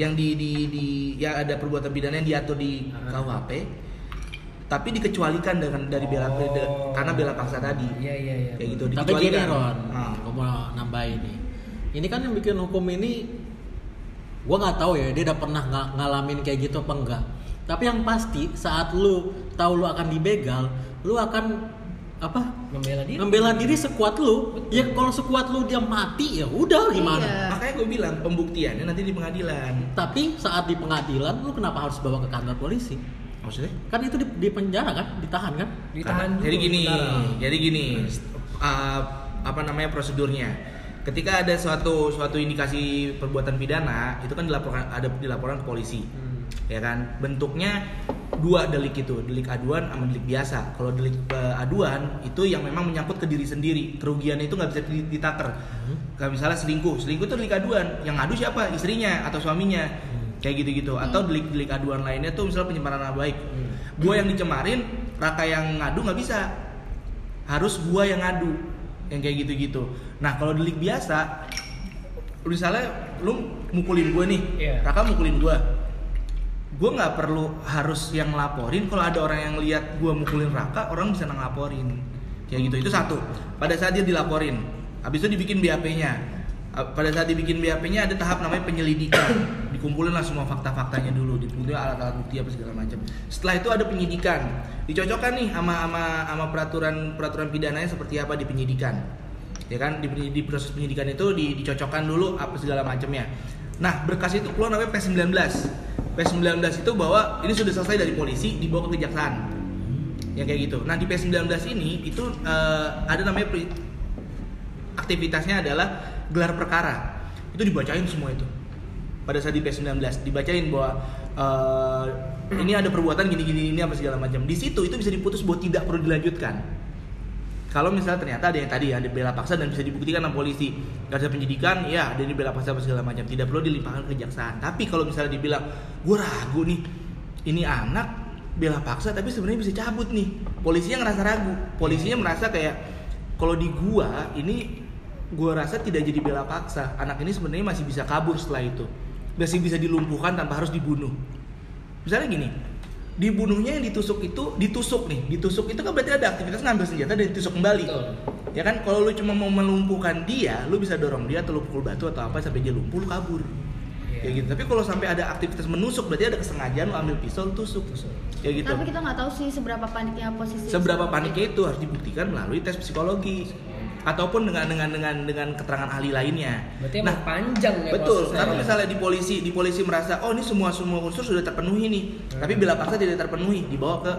S1: yang di di di ya ada perbuatan pidana yang diatur di
S3: Ah.
S1: KUHP tapi dikecualikan dengan dari bela
S3: Oh.
S1: karena bela paksa tadi.
S3: Iya iya iya.
S1: Kayak gitu
S2: Tapi gini
S1: dikecualikan.
S2: Ron,
S1: Ah.
S2: aku Nah, mau nambahin nih. Ini kan yang bikin hukum ini, gua nggak tahu ya dia udah pernah nga- ngalamin kayak gitu apa enggak. Tapi yang pasti saat lu tahu lu akan dibegal, lu akan apa?
S3: Membela dia.
S2: Membela diri sekuat lu. Ya kalau sekuat lu dia mati ya udah gimana?
S4: Iya.
S1: Makanya gue bilang pembuktiannya nanti di pengadilan.
S2: Tapi saat di pengadilan lu kenapa harus bawa ke kantor polisi?
S1: Maksudnya?
S2: Kan itu di, di penjara kan, ditahan kan?
S3: Ditahan dulu.
S1: Jadi gini,
S3: sementara.
S1: jadi gini, uh, apa namanya prosedurnya? Ketika ada suatu suatu indikasi perbuatan pidana, itu kan dilaporkan ada dilaporkan ke polisi.
S3: Hmm.
S1: ya kan bentuknya dua delik itu delik aduan sama delik biasa kalau delik eh, aduan itu yang memang menyangkut ke diri sendiri kerugiannya itu nggak bisa di- ditaker kayak misalnya selingkuh selingkuh itu delik aduan yang ngadu siapa istrinya atau suaminya kayak gitu-gitu atau delik-delik aduan lainnya tuh misalnya pencemaran nama baik
S3: Hmm.
S1: gue yang dicemarin raka yang ngadu nggak bisa harus gua yang ngadu yang kayak gitu-gitu nah kalau delik biasa lu misalnya lu mukulin gua nih
S3: Iya.
S1: Raka mukulin gua gua nggak perlu harus yang ngelaporin kalau ada orang yang lihat gua mukulin Raka orang bisa ngelaporin kayak gitu itu satu pada saat dia dilaporin habis itu dibikin BAP-nya A- pada saat dibikin BAP-nya ada tahap namanya penyelidikan dikumpulin lah semua fakta-faktanya dulu dikumpulin alat-alat bukti apa segala macam setelah itu ada penyidikan dicocokkan nih sama sama sama peraturan peraturan pidananya seperti apa di penyidikan ya kan di, di proses penyidikan itu di- dicocokkan dulu apa segala macamnya. Nah berkas itu keluar namanya P19. P19 itu bahwa ini sudah selesai dari polisi dibawa ke kejaksaan, ya kayak gitu. Nah di P19 ini itu eh, ada namanya pri- aktivitasnya adalah gelar perkara. Itu dibacain semua itu pada saat di P19 dibacain bahwa eh, ini ada perbuatan gini-gini ini apa segala macam. Di situ itu bisa diputus bahwa tidak perlu dilanjutkan kalau misalnya ternyata ada yang tadi ya, ada bela paksa dan bisa dibuktikan sama polisi gak ada penyidikan ya ada ini bela paksa apa segala macam tidak perlu dilimpahkan ke kejaksaan tapi kalau misalnya dibilang gue ragu nih ini anak bela paksa tapi sebenarnya bisa cabut nih polisinya ngerasa ragu polisinya merasa kayak kalau di gua ini gua rasa tidak jadi bela paksa anak ini sebenarnya masih bisa kabur setelah itu masih bisa dilumpuhkan tanpa harus dibunuh misalnya gini dibunuhnya yang ditusuk itu ditusuk nih ditusuk itu kan berarti ada aktivitas ngambil senjata dan ditusuk kembali
S3: Betul.
S1: ya kan kalau lu cuma mau melumpuhkan dia lu bisa dorong dia atau lu pukul batu atau apa sampai dia lumpuh lu kabur
S3: Iya.
S1: ya gitu tapi kalau sampai ada aktivitas menusuk berarti ada kesengajaan lu ambil pisau lu tusuk ya gitu
S4: Tapi kita nggak tahu sih seberapa paniknya posisi.
S1: seberapa paniknya itu harus dibuktikan melalui tes psikologi ataupun dengan dengan dengan dengan keterangan ahli lainnya Nah,
S3: Berarti emang panjang ya
S1: Betul,
S3: prosesnya.
S1: karena misalnya di polisi, di polisi merasa oh ini semua semua unsur sudah terpenuhi nih, tapi bila paksa tidak terpenuhi dibawa ke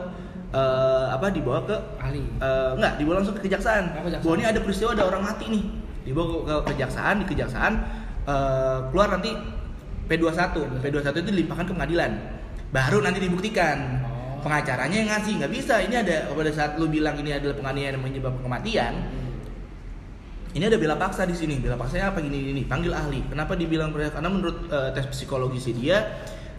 S1: eh, apa? Dibawa ke
S3: ahli.
S1: eh, enggak, dibawa langsung ke kejaksaan.
S3: Oh, Hmm. kejaksaan.
S1: Bahwa ini ada peristiwa ada orang mati nih, dibawa ke, ke kejaksaan, di kejaksaan eh, keluar nanti P21, P21 itu dilimpahkan ke pengadilan, baru nanti dibuktikan.
S3: Oh.
S1: Pengacaranya yang ngasih nggak bisa, ini ada pada saat lu bilang ini adalah penganiayaan yang menyebabkan kematian, ini ada bela paksa di sini bela paksanya apa gini gini panggil ahli kenapa dibilang berat karena menurut eh, tes psikologi si dia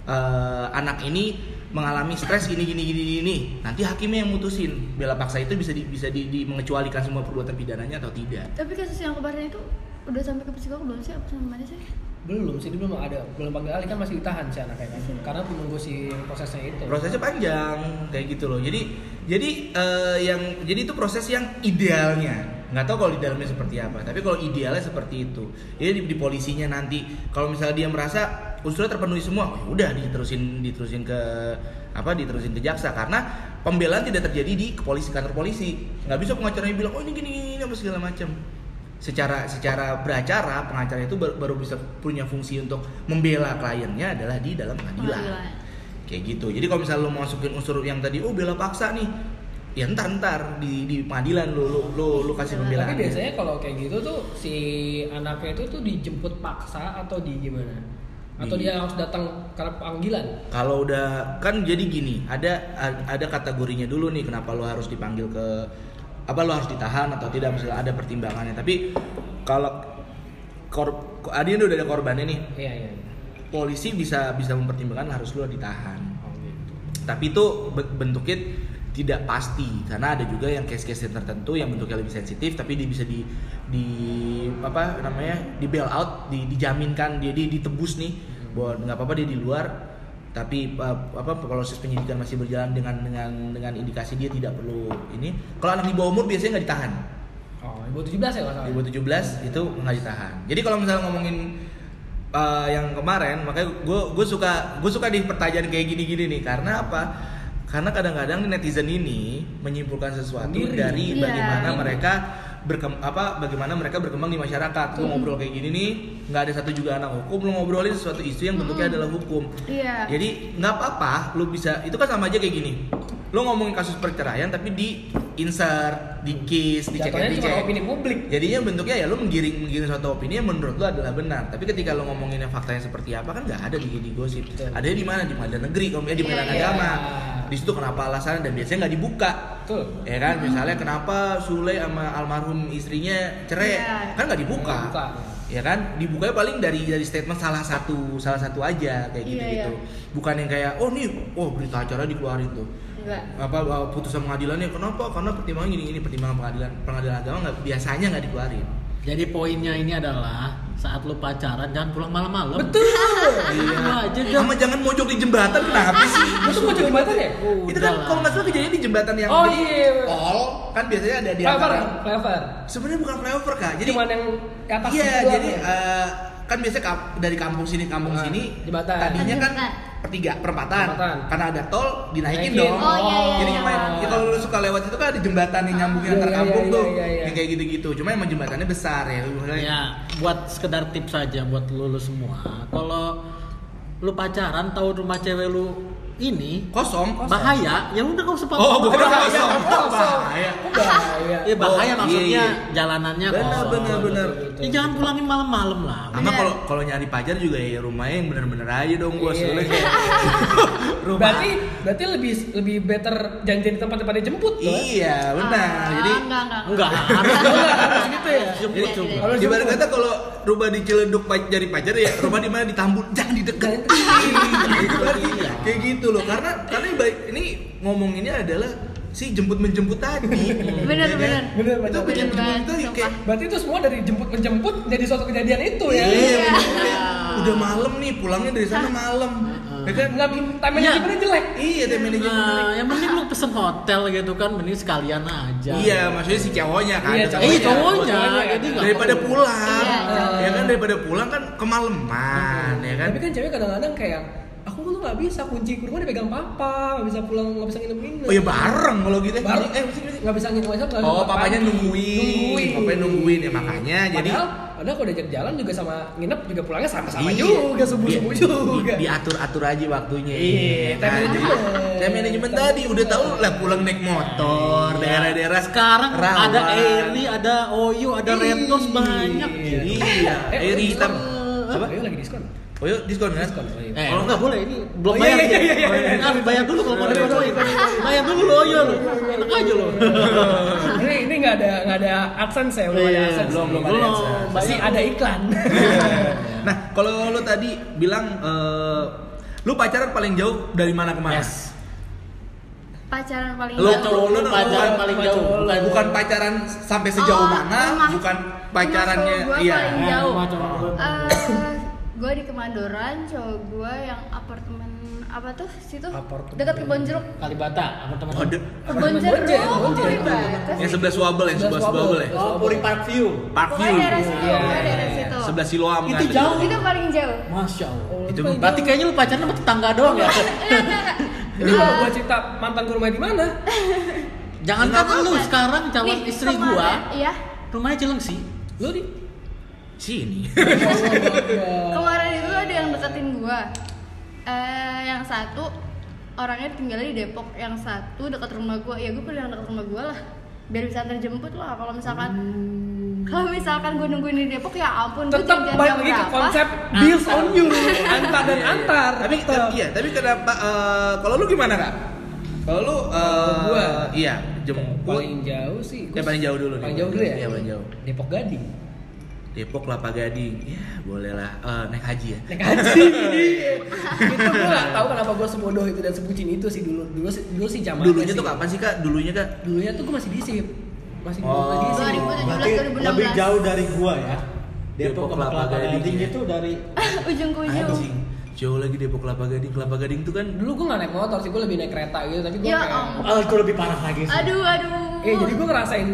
S1: eh, anak ini mengalami stres gini gini gini gini nanti hakimnya yang mutusin bela paksa itu bisa di, bisa di, di- mengecualikan semua perbuatan pidananya atau tidak
S4: Tapi kasus yang kemarin itu udah sampai ke psikolog belum sih? Apa sampai mana sih?
S3: belum sih dia belum ada belum panggil ahli kan masih ditahan si anaknya kan karena menunggu si prosesnya itu
S1: prosesnya panjang kayak gitu loh jadi jadi eh, yang jadi itu proses yang idealnya nggak tahu kalau di dalamnya seperti apa tapi kalau idealnya seperti itu jadi di, di polisinya nanti kalau misalnya dia merasa unsurnya terpenuhi semua oh, ya udah diterusin diterusin ke apa diterusin ke jaksa karena pembelaan tidak terjadi di kepolisian kantor polisi nggak bisa pengacaranya bilang oh ini gini gini, gini apa segala macam secara secara beracara pengacara itu baru, baru bisa punya fungsi untuk membela kliennya adalah di dalam pengadilan
S4: Pengadilan.
S1: kayak gitu jadi kalau misalnya lo mau masukin unsur yang tadi oh bela paksa nih ya ntar ntar di di pengadilan lo lo lo, lo kasih pembelaan
S3: tapi biasanya kalau kayak gitu tuh si anaknya itu tuh dijemput paksa atau di gimana atau
S1: Di-
S3: dia harus datang karena panggilan
S1: kalau udah kan jadi gini ada a- ada kategorinya dulu nih kenapa lo harus dipanggil ke apa lo harus ditahan atau tidak misalnya ada pertimbangannya tapi kalau kor ada yang udah ada korbannya nih
S3: iya iya iya.
S1: polisi bisa bisa mempertimbangkan harus lo ditahan
S3: oh, gitu.
S1: tapi itu be- bentuknya tidak pasti karena ada juga yang case-case yang tertentu yang bentuknya lebih sensitif tapi dia bisa di di apa namanya di bail out di- dijaminkan dia dia ditebus nih bahwa nggak apa-apa dia di luar tapi uh, apa proses penyidikan masih berjalan dengan dengan dengan indikasi dia tidak perlu ini kalau anak di bawah umur biasanya nggak ditahan
S3: oh ibu 17 ya kalau salah
S1: di bawah 17 itu nggak ditahan jadi kalau misalnya ngomongin uh, yang kemarin makanya gue gue suka gue suka di pertanyaan kayak gini-gini nih karena apa karena kadang-kadang netizen ini menyimpulkan sesuatu
S3: Sendiri.
S1: dari
S4: Iya.
S1: bagaimana mereka berkem apa bagaimana mereka berkembang di masyarakat
S3: Iya.
S1: lu ngobrol kayak gini nih nggak ada satu juga anak hukum lu ngobrolin sesuatu isu yang
S3: Hmm.
S1: bentuknya adalah hukum
S4: Iya.
S1: jadi nggak apa-apa, lu bisa itu kan sama aja kayak gini. Lu ngomongin kasus perceraian tapi di insert, di kiss, di cek
S3: jatuhnya
S1: di
S3: cuma opini publik
S1: Jadinya bentuknya ya lu menggiring menggiring suatu opini yang menurut lu adalah benar. Tapi ketika lu ngomongin yang faktanya seperti apa kan nggak ada di, di gosip.
S3: Betul.
S1: Ada di mana? Di pengadilan negeri, kalau misalnya di
S4: Iya,
S1: pengadilan
S4: iya.
S1: agama. Di situ kenapa alasannya dan biasanya nggak dibuka.
S3: betul
S1: Ya kan, misalnya kenapa Sule sama almarhum istrinya cerai?
S4: Iya.
S1: Kan nggak dibuka.
S3: Buka.
S1: Ya kan, dibukanya paling dari dari statement salah satu salah satu aja kayak
S4: Iya,
S1: gitu-gitu.
S4: iya.
S1: Bukan yang kayak oh nih, oh berita acara dikeluarin tuh.
S4: enggak
S1: apa uh, putusan pengadilannya kenapa karena pertimbangan gini gini pertimbangan pengadilan pengadilan agama nggak biasanya nggak dikeluarin
S2: Jadi poinnya ini adalah saat lu pacaran jangan pulang malam-malam.
S3: Betul.
S2: Iya aja dah.
S1: sama jangan mojok di jembatan kenapa sih
S3: Lu tuh mau coba jembatan ya?
S1: itu kan
S2: Udahlah.
S1: kalau nggak salah kejadian di jembatan yang
S3: Oh,
S1: di
S3: iya.
S1: tol kan biasanya ada di
S3: Flavor,
S1: antara
S3: flavor.
S1: sebenarnya bukan flyover kak jadi
S3: Cuman yang ke atas
S1: iya
S3: doang
S1: jadi
S3: ya?
S1: eh, kan biasanya kap- dari kampung sini kampung
S3: Ah,
S1: sini
S3: jembatan.
S1: tadinya kan
S4: Jembatan.
S1: pertiga perempatan
S3: Perempatan.
S1: karena ada tol dinaikin
S3: Naikin.
S1: dong
S4: Oh, iya, iya,
S1: jadi
S4: iya.
S1: main ya, kalau lu suka lewat itu kan ada jembatan yang nyambungin
S3: Iya,
S1: antar
S3: iya,
S1: kampung
S3: iya,
S1: tuh
S3: iya, iya.
S1: yang kayak gitu-gitu cuma emang jembatannya besar ya lu bilang,
S2: Ya, buat sekedar tips saja buat lu, lu semua. Kalau lu pacaran tahu rumah cewek lu ini
S1: kosong
S2: bahaya, ya udah kau usah
S1: oh gue kira
S2: Bahaya.
S1: kosong
S3: Kosong.
S1: bahaya
S3: Bahaya.
S2: Ya bahaya
S1: Oh, iya,
S2: maksudnya jalanannya
S1: benar
S2: kosong.
S1: benar benar
S2: Ya, jangan pulangin malam-malam lah.
S1: sama kalau kalau nyari pacar juga ya rumahnya yang bener-bener aja dong gue
S3: Iya.
S1: soalnya kayak rumah
S3: Berarti berarti lebih lebih better janjian di tempat daripada eh? jemput dong.
S1: iya benar
S4: Ah,
S1: jadi Iya,
S4: enggak enggak
S2: Enggak, harus
S3: Harus gitu ya.
S2: jemput
S4: Iya,
S2: juga.
S4: iya.
S3: Kalau
S1: Ibarat
S3: jemput.
S1: kata kalau rumah di Ciledug pa- jadi pacar ya rumah di mana di Tambun jangan dideketin.
S2: Iya.
S1: Kayak gitu loh karena karena baik ini ngomonginnya adalah si jemput menjemput tadi.
S4: Bener,
S1: Ya kan?
S4: bener.
S3: Bener,
S1: Itu
S3: bener.
S1: penjemput
S4: Bener
S1: itu
S4: banget,
S1: kayak
S3: Berarti itu semua dari jemput-menjemput jadi suatu kejadian itu ya.
S1: Iya,
S4: Iya.
S1: bener, kayak, udah malam nih pulangnya dari sana malam. Ya kan?
S3: Enggak timing
S2: Iya.
S3: gimana jelek.
S1: Iya, ada manajemen.
S2: Nah, yang mending lu pesen hotel gitu kan, mending sekalian aja.
S1: Iya, maksudnya si cowoknya kan.
S3: Iya,
S1: ada
S2: Eh,
S3: cowoknya.
S2: cowoknya.
S3: Cowoknya.
S2: Jadi nggak
S1: daripada
S2: perlu.
S1: pulang,
S4: Iya,
S1: ya kan daripada pulang kan kemalaman, ya kan.
S3: Tapi kan cewek kadang-kadang kayak aku tuh nggak bisa kunci ke rumah dipegang papa, nggak bisa pulang, nggak bisa nginep-nginep.
S1: Oh ya bareng kalau gitu. Eh,
S3: Baru
S1: eh,
S3: nggak bisa nginep WhatsApp. nggak bisa
S1: Oh,
S3: makan.
S1: papanya nungguin.
S3: Nungguin.
S1: Papanya nungguin ya makanya jadi
S3: Padahal, padahal kalau diajak jalan juga sama nginep juga pulangnya sama-sama
S1: Iya.
S3: juga subuh-subuh
S1: Di-
S3: juga.
S1: di- diatur-atur aja waktunya.
S3: Iya,
S1: Kan?
S3: time management.
S1: Time management tadi udah tahu lah pulang naik motor, daerah-daerah
S2: Iya. Sekarang
S1: rawan.
S2: ada Eri, ada Oyu, ada Retos banyak.
S1: Iya,
S2: gitu.
S1: Iya, Eri hitam.
S3: Apa? Ayo lagi diskon.
S1: Oh, yuk diskon kan?
S3: Diskon. oh,
S2: Eh,
S3: iya.
S1: Kalau
S2: kalau nggak boleh ini belum
S3: Oh, iya,
S2: bayar.
S3: iya, iya, iya, iya.
S2: Nah, bayar dulu kalau mau dibodohin. iya, Bayar dulu lo, Oyu. lo. Enak aja lo.
S3: ini ini nggak ada nggak ada adsense ya belum ada
S2: Iya,
S3: adsense.
S1: belum, belum ada Iya. adsense.
S3: Masih ada iklan.
S1: Nah, kalau lu tadi bilang eh, lu pacaran paling jauh dari mana ke mana?
S2: Yes.
S4: pacaran paling
S1: Lu
S4: jauh.
S1: cowok lu
S2: Lu pacaran paling jauh,
S1: bukan,
S2: bukan-
S1: bukan pacaran sampai sejauh
S4: Oh,
S1: mana,
S4: rumah-
S1: bukan
S4: rumah
S1: pacarannya
S4: cowok gua
S1: iya.
S4: paling jauh.
S2: Macam
S4: Eh, gue di Kemandoran, cowok gue yang apartemen apa tuh situ
S3: Apartemen.
S4: dekat kebon jeruk
S2: Kalibata, apa
S1: Oh,
S2: teman-teman?
S1: de-
S4: kebon
S3: Apartemen
S4: jeruk
S3: Bonjen,
S4: kok
S3: Bonjen.
S4: Kalibata
S1: yang
S4: sih?
S1: sebelah suabel, yang sebelah
S3: Sebelah
S1: suabel ya.
S3: Suabel.
S2: Oh, Puri Park View.
S1: Parkview.
S4: pokoknya daerah situ
S3: Iya.
S4: pokoknya daerah situ
S1: Sebelah Siloam
S2: Itu
S1: kan.
S2: jauh.
S4: itu paling jauh
S2: Masya Allah.
S1: Itu
S3: paling
S2: Berarti
S3: jauh.
S2: kayaknya lu pacaran sama tetangga doang ya?
S4: Enggak, enggak, enggak.
S3: Jadi kalau gua cerita mantan ke rumah di mana?
S2: Jangan kan lu
S4: Apa?
S2: sekarang calon
S4: Nih,
S2: istri
S4: kemarin-
S2: gua,
S4: iya
S2: rumahnya Cilengsi.
S3: Lu di
S1: Sini.
S4: kemarin itu ada yang deketin gua eh yang satu orangnya tinggalnya di Depok yang satu dekat rumah gua ya gua pilih yang dekat rumah gua lah biar bisa terjemput lah kalau misalkan kalau misalkan gua nungguin di Depok ya ampun gua
S3: tetap
S4: janjian
S3: balik
S4: jam
S3: lagi ke
S4: berapa.
S3: konsep bills on you antar dan
S1: Iya, iya.
S3: antar gitu.
S1: Tapi
S3: tetap.
S1: iya, tapi kenapa eh, kalau lu gimana, Kak? Kalau lu eh,
S3: gua?
S1: iya, jemput
S3: paling jauh sih gua-
S1: Ya, paling jauh dulu nih.
S3: paling jauh dulu ya
S1: Iya, paling jauh.
S3: Depok Gading
S1: Depok Kelapa Gading. Ya, bolehlah Eh, naik haji ya.
S3: naik haji itu gua nggak tahu kenapa gua sebodoh itu dan sebucin itu sih dulu dulu sih dulu sih zaman
S1: Dulunya
S3: sih.
S1: tuh kapan sih, Kak? Dulunya, Kak?
S3: dulunya tuh gua masih disip masih di
S1: Oh.
S3: di sip.
S4: 2017,
S5: Berarti
S4: 2016.
S5: lebih jauh dari gua ya.
S1: Depok
S5: Depok ke
S1: Kelapa
S5: Kelapa Gading ya.
S1: Gading.
S5: itu dari
S4: ujung ke ujung
S1: Anjing. Jauh lagi Depok Kelapa Gading. Kelapa Gading tuh kan
S3: dulu gua nggak naik motor sih gua lebih naik kereta gitu tapi gua
S4: Ya
S3: kayak
S4: ampun.
S5: Oh, itu lebih parah lagi. sih.
S4: aduh aduh
S3: eh jadi gua ngerasain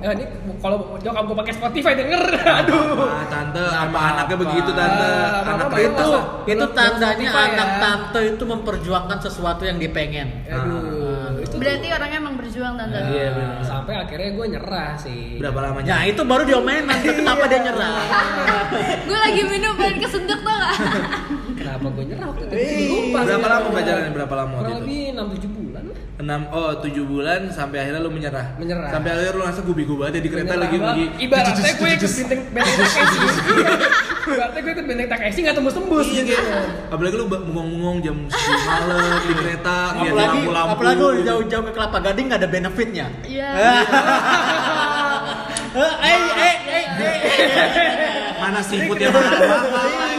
S3: ya ini kalau nyokap gua pakai Spotify denger aduh
S1: Ah, tante apa anaknya begitu, Tante.
S3: Ah,
S1: Anak
S3: apa-apa,
S1: kereta.
S2: Itu,
S3: Masa?
S2: itu
S3: Belum-
S2: tandanya
S3: belum Spotify
S2: anak
S3: ya.
S2: tante itu memperjuangkan sesuatu yang dipengen.
S1: Ah.
S3: aduh itu tuh-
S4: berarti orangnya emang berjuang tante
S3: Nah,
S1: Iya, bener.
S3: sampai akhirnya gue nyerah sih.
S1: Berapa lama
S2: Nah itu baru diomelin nanti kenapa dia nyerah.
S4: Iya. gua lagi minum pengen kesedek tau gak
S3: Kenapa gue nyerah waktu itu?
S5: Wih.
S3: Lupa sih.
S1: Berapa lama pacarannya? Berapa lama waktu
S3: Kurang
S1: itu?
S3: lebih 6 7 bulan lah.
S1: 6 oh 7 bulan sampai akhirnya lu menyerah.
S3: Menyerah.
S1: Sampai akhirnya lu ngerasa gubi gubi aja di kereta
S3: Menyerah
S1: lagi
S3: banget.
S1: lagi.
S3: Ibaratnya gue ikut benteng benteng Takeshi. Ibaratnya gue ikut benteng Takeshi nggak tembus-tembus
S1: Iya
S3: gitu.
S1: kayak apalagi lu ba- bengong-bengong jam 10 malam di kereta ngeliat
S2: apalagi
S1: lampu-lampu.
S2: apalagi lu
S1: gitu.
S2: jauh-jauh ke Kelapa Gading nggak ada benefitnya.
S4: iya
S2: Eh eh eh eh.
S1: Mana seafood yang mahal?
S3: Iya.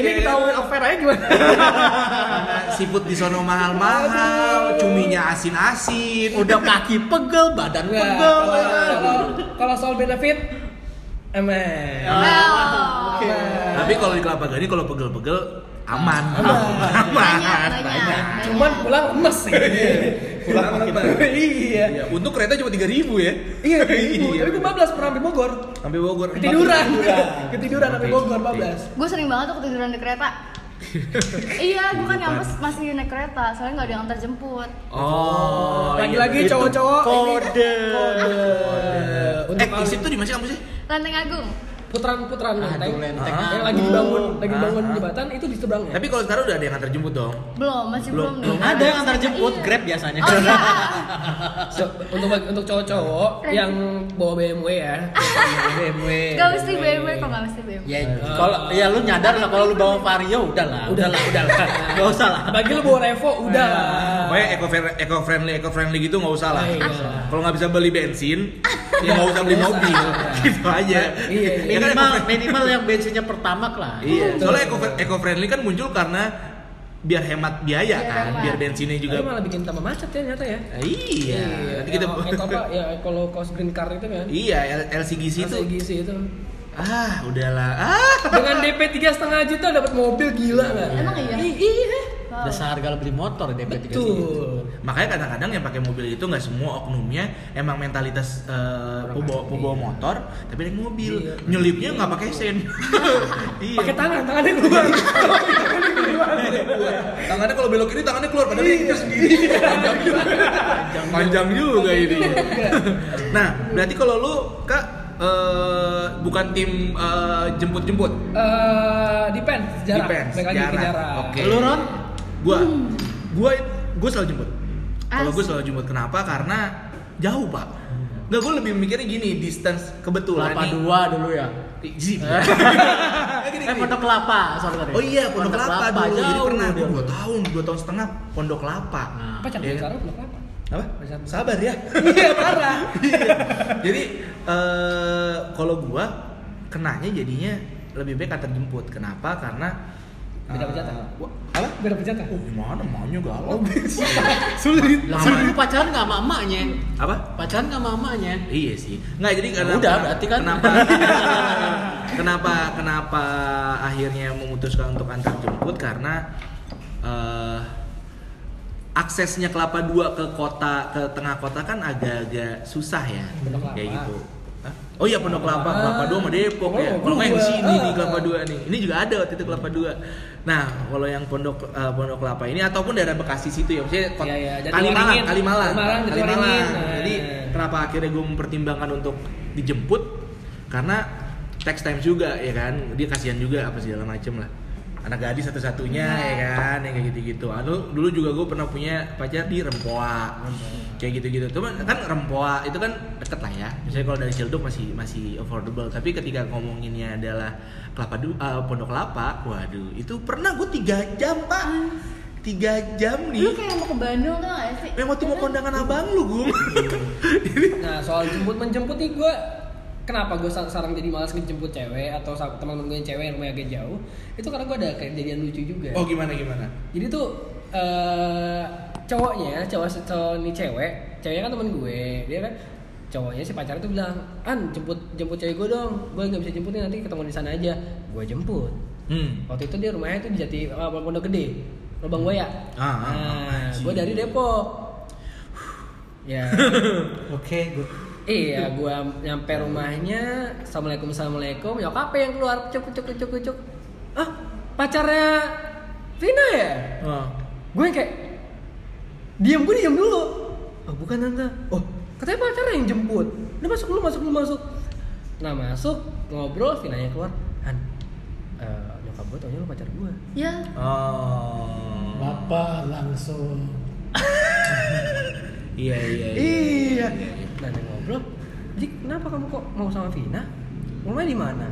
S3: ini kita ngomongin off air aja gimana?
S1: Siput di sono mahal-mahal, cuminya asin-asin.
S2: Udah kaki pegel, badan
S5: Ya,
S3: Nggak,
S2: pegel.
S3: kalau- kalau- Kalau soal benefit, emang.
S4: Well,
S1: Tapi kalau di Kelapa Gading kalau pegel-pegel aman.
S3: Aman.
S4: banyak,
S1: Aman.
S4: banyak, banyak.
S3: Cuman pulang emes sih.
S1: Pulang apa?
S3: Iya.
S1: Iya, untuk kereta cuma 3000 ya.
S3: Iya, gitu. tapi gue bablas pernah sampai Bogor.
S1: sampai Bogor.
S3: Ketiduran. Ketiduran sampai Bogor bablas.
S4: gue sering banget tuh ketiduran di kereta. iya, gue kan kampus masih naik kereta, soalnya nggak ada yang antar jemput.
S1: Oh.
S3: Lagi-lagi
S1: iya.
S3: cowok-cowok ini-
S2: Kode.
S3: Kode.
S1: Eh,
S3: Untuk
S1: Isip tuh di mana sih kampusnya?
S4: Lenteng Agung.
S3: putaran-putaran lenteng.
S2: Aduh, lenteng.
S3: Yang lagi dibangun, lagi
S1: Ah,
S3: dibangun
S1: ah.
S3: jembatan itu di seberangnya.
S1: Tapi kalau sekarang udah ada yang antar jemput dong.
S4: Belum, masih belum.
S1: Belum,
S4: nih.
S1: belum.
S2: Ada yang antar jemput,
S4: Iya.
S2: grab biasanya.
S4: Oh iya.
S3: Ah, So, untuk bagi- untuk cowok-cowok yang bawa BMW ya. BMW.
S4: Gak mesti BMW kok gak mesti BMW.
S2: Ya, kalau ya lu nyadar lah kalau lu bawa Vario udahlah, udahlah, udahlah. Enggak usah lah.
S1: Iya.
S3: Bagi lu bawa Revo udah lah.
S1: Pokoknya eco eco friendly eco friendly gitu nggak usah lah.
S3: Ah, iya.
S1: Kalau nggak bisa beli bensin, ya nggak usah beli mobil, gitu aja.
S3: Iya, iya.
S1: Ya kan,
S2: Minimal
S1: eco-friendly.
S2: minimal yang bensinnya pertama lah.
S1: Iya. Soalnya eco eco friendly kan muncul karena biar hemat biaya
S4: Biar
S1: kan,
S4: hemat.
S1: biar bensinnya juga.
S3: Tapi Iya, malah bikin tambah macet ya ternyata ya.
S1: Ah, Iya. Nanti kita
S3: Yang eco apa ya kalau cost green car itu kan.
S1: Iya, L- LCGC itu.
S3: Masih gisi itu.
S1: Ah, udahlah. Ah.
S3: Dengan DP 3,5 juta dapat mobil gila nggak?
S4: Emang iya?
S3: I- Iya.
S4: Wow.
S2: Udah seharga lu beli motor ya, DP 3
S3: Betul.
S1: Makanya kadang-kadang yang pakai mobil itu nggak semua oknumnya emang mentalitas eh, pembawa pembawa motor, tapi naik mobil.
S3: Iya.
S1: Nyelipnya nggak pakai sen. iya.
S3: Pakai tangan, tangannya keluar.
S1: tangannya kalau belok ini tangannya keluar padahal ini sendiri panjang juga panjang juga ini nah berarti kalau lu kak eh, bukan tim eh, jemput-jemput
S3: Eh, depend jarak.
S1: Depends,
S3: Baik lagi ke
S1: jarak.
S3: jarak.
S1: Oke.
S2: Lu Ron?
S1: gua gua gua selalu jemput kalau
S4: As-
S1: gua selalu jemput kenapa karena jauh pak Nggak, gua lebih mikirnya gini distance kebetulan
S2: Kelapa
S1: nih
S2: dua dulu ya.
S1: Ih, Zip. Gini,
S2: Eh
S1: gini.
S2: Pondok Kelapa, sorry sorry.
S1: Oh iya, Pondok Kelapa dulu. Jadi
S2: jauh
S1: pernah
S2: dia.
S1: gua 2 tahun, 2 tahun setengah Pondok Kelapa.
S2: Nah.
S3: Apa cara
S1: Iya kan?
S3: bicara belum apa?
S1: Apa?
S3: Pesan-
S1: Sabar ya.
S3: Iya parah.
S1: Jadi eh kalau gua kenanya jadinya lebih baik antar jemput. Kenapa? Karena
S3: Beda
S1: eh,
S3: pejatan.
S1: gua- apa?
S3: Beda pejatan.
S1: Oh, gimana maunya galau?
S2: Sulit.
S1: Lama.
S2: Sulit lu pacaran enggak sama emaknya?
S1: apa?
S2: Pacaran enggak sama emaknya?
S1: Iya sih. Nggak jadi karena
S2: Udah, berarti kan.
S1: kenapa kenapa kenapa akhirnya memutuskan untuk antar jemput karena eh aksesnya Kelapa Dua ke kota ke tengah kota kan agak-agak susah ya.
S3: Pondok Kelapa.
S1: Kayak gitu. Hah? Oh iya Pondok Kelapa,
S3: Ah.
S1: Kelapa Dua sama Depok ya.
S3: Oh,
S1: Kalau nggak yang di
S3: gua.
S1: sini nih
S3: Ah.
S1: Kelapa Dua nih. Ini juga ada waktu itu Kelapa Dua. Nah, kalau yang Pondok eh, Pondok Kelapa ini ataupun daerah Bekasi situ ya, maksudnya kota,
S3: Iya, iya. Jadi
S1: Kalimalang,
S3: Waringin.
S1: Kalimalang,
S3: Kalimalang, jadi
S1: Kalimalang.
S3: Waringin.
S1: Jadi
S3: Nah.
S1: kenapa akhirnya gue mempertimbangkan untuk dijemput karena text time juga ya kan dia kasihan juga apa segala macem lah anak gadis satu-satunya
S4: Iya.
S1: ya kan yang kayak gitu-gitu lalu dulu juga gue pernah punya pacar di Rempoa kayak gitu-gitu cuman kan Rempoa itu kan deket lah ya misalnya kalau dari Cilduk masih masih affordable tapi ketika ngomonginnya adalah kelapa Du- eh, pondok kelapa waduh itu pernah gue tiga jam pak tiga jam
S4: Lu
S1: nih
S4: kayak mau ke Bandung tuh gak sih?
S1: memang tuh mau kondangan abang lu gue
S3: Nah soal jemput menjemput nih gue kenapa gue sekarang jadi malas ngejemput cewek atau sa- teman-teman gue yang cewek yang rumahnya agak jauh itu karena gue ada kejadian lucu juga.
S1: oh gimana gimana
S3: Jadi tuh eh cowoknya cowok cowok nih cewek ceweknya kan temen gue dia kan cowoknya si pacarnya tuh bilang an jemput jemput cewek gue dong gue nggak bisa jemput nih nanti ketemu di sana aja gue jemput
S1: hmm
S3: waktu itu dia rumahnya tuh di jati ah, pondok gede lubang buaya
S1: Ah, ah,
S3: nah,
S1: ah,
S3: gue
S1: sih.
S3: dari depok ya
S5: Oke, good.
S3: Iya, gua nyampe rumahnya, assalamualaikum assalamualaikum, nyokap yang keluar cuk cuk cuk cuk cuk. Ah, pacarnya Vina ya?
S1: Oh.
S3: Gue yang kayak diam gue diam dulu. Oh, bukan tante. Oh, katanya pacarnya yang jemput. Udah masuk dulu, masuk dulu, masuk. Nah, masuk, ngobrol, Vinanya keluar. Han, eh, nyokap gue taunya lu pacar gue.
S4: Ya,
S1: Oh.
S5: Bapak langsung
S1: Iya iya.
S3: Iya. Nah, dia ngobrol. Jadi kenapa kamu kok mau sama Vina? Rumahnya di mana?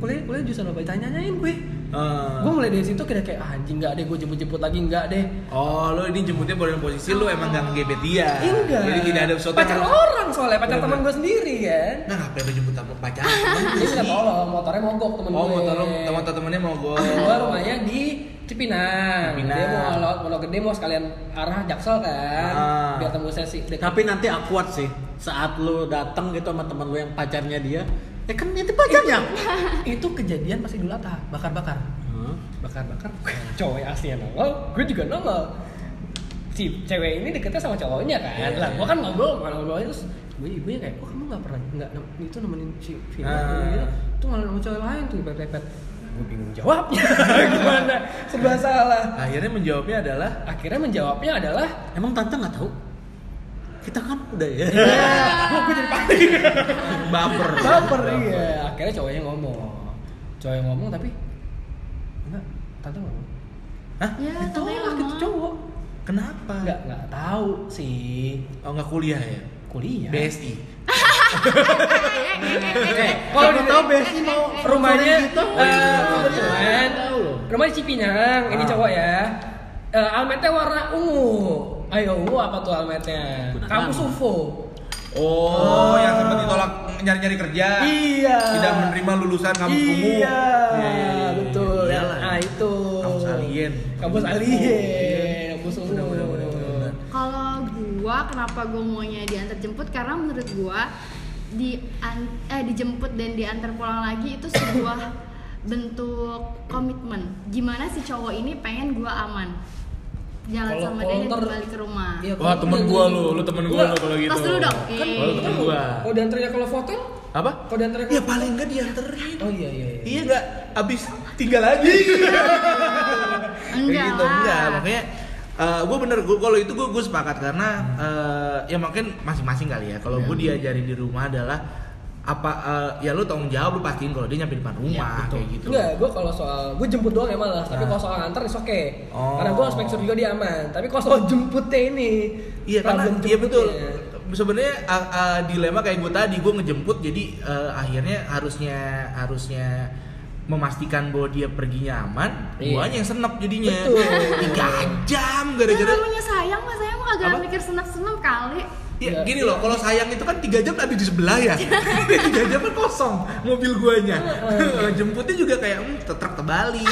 S3: Kuliah kuliah jurusan apa? Tanyain gue.
S1: Eh,
S3: Gue mulai dari situ kira kayak "Ah, anjing nggak deh gue jemput-jemput lagi nggak deh.
S1: Oh, lo ini jemputnya pada posisi lo emang gak ngegebet dia.
S3: Iya, Enggak.
S1: Iya. Jadi tidak ada sesuatu
S3: pacar
S1: yang-
S3: orang soalnya pacar
S1: Bener-bener.
S3: teman gue sendiri kan.
S1: Nah, ngapain lo jemput sama pacar?
S3: Dia minta tolong motornya mogok temen
S1: oh,
S3: gue.
S1: motor lo, motor temennya mau gue.
S3: Gue rumahnya di Cipinang.
S1: Cipinang.
S3: Dia mau kalau kalau gede mau sekalian arah Jaksel kan.
S1: Ah.
S3: Biar tembus sesi. Deket.
S2: Tapi nanti awkward sih saat lu datang gitu sama teman lu yang pacarnya dia. Eh kan nanti pacarnya.
S3: itu kejadian pas Idul Adha, bakar-bakar.
S2: Hah?
S3: Bakar-bakar. Cowok yang aslinya nongol, gue juga nongol. Si cewek ini deketnya sama cowoknya kan.
S2: Iya,
S3: lah,
S2: iya.
S3: gue kan ngobrol, ngobrol, ngobrol terus gue ibunya kayak, "Oh, kamu gak pernah enggak itu nemenin si Vina
S1: Ah.
S3: gitu. Tuh malah sama cowok lain tuh lepet-lepet." Gue bingung jawabnya. Gimana? Serba salah.
S1: Akhirnya menjawabnya adalah
S3: Akhirnya menjawabnya adalah
S2: Emang tante nggak tahu? Kita kan udah ya.
S3: Iya. gue jadi
S1: baper.
S3: baper iya akhirnya cowoknya ngomong cowoknya ngomong tapi enggak tante ngomong
S4: Ya,
S3: itu
S4: tapi
S3: lah
S4: lama.
S3: gitu cowok
S1: Kenapa?
S3: enggak enggak tahu sih
S1: Oh, nggak kuliah ya?
S3: kuliah
S1: BSI.
S4: Eh,
S3: Kalau
S2: Siapa
S3: di-
S2: tahu Besti mau
S3: rumahnya
S2: sponsorin
S1: gitu?
S4: gitu.
S2: kita.
S3: eh, kebetulan
S2: Tahu loh.
S3: rumahnya Cipinang ini
S1: Ah.
S3: cowok ya Eh, almetnya warna ungu ayo ungu apa tuh almetnya
S2: Gunakan.
S3: kampus UFO
S1: Oh, yang sempat ditolak nyari-nyari kerja.
S3: Iya.
S1: Ah, Tidak menerima lulusan kamu ungu.
S3: Iya,
S1: Iya,
S3: betul.
S1: iyalah.
S3: Nah, itu.
S1: Kampus alien. Iya,
S3: Kampus alien. Kampus ungu.
S1: Benar, benar, benar, benar.
S4: Kalau gua kenapa gua maunya diantar jemput karena menurut gua di an- eh dijemput dan diantar pulang lagi itu sebuah bentuk komitmen. Gimana si cowok ini pengen gua aman. Jalan
S3: Kalau
S4: sama dia dan
S3: counter-
S4: kembali ke rumah.
S3: Iya,
S1: Wah,
S3: kalau
S1: temen
S3: udah
S1: gua
S3: gitu.
S1: lu, lu temen gua lu
S3: Enggak.
S1: kalau gitu.
S4: Tas dulu dong.
S1: Kan
S4: Eh.
S1: gua lu temen gua.
S3: Kalau diantarnya Oh, kalau foto?
S1: Apa?
S3: Kalau diantarnya
S1: Ya
S3: kalau
S1: paling nggak dianterin.
S3: Oh iya iya iya.
S1: Iya nggak, abis tinggal lagi.
S4: Enggak
S1: gitu,
S4: lah.
S1: enggak. Makanya gue bener, gue kalau itu gue gue sepakat karena eh, ya mungkin masing-masing kali ya. Kalau gue
S3: Iya.
S1: diajarin di rumah adalah apa eh, ya lu tanggung jawab lu pastiin kalau dia nyampe depan
S3: Iya,
S1: rumah kayak gitu.
S3: Enggak, gue kalau soal gue jemput doang ya malas, tapi kalau soal nganter is oke.
S1: Ah. Oh.
S3: Karena gue harus make sure juga dia aman. Tapi kalau soal jemputnya ini,
S1: Iya karena
S3: problem
S1: iya betul.
S3: jemputnya.
S1: Sebenarnya uh, uh, dilema kayak gue tadi, gue ngejemput jadi uh, akhirnya harusnya harusnya memastikan bahwa dia perginya aman,
S3: Iya.
S1: guanya yang senep jadinya.
S3: Betul.
S1: Tiga jam
S4: Ya
S1: gara-gara.
S4: namanya sayang mah sayang mah kagak
S1: Apa?
S4: mikir senap-senap kali.
S1: Ya, gini loh, kalau sayang itu kan tiga jam ada di sebelah ya. tiga jam kan kosong mobil guanya. Jemputnya juga kayak hmm, truk terbalik,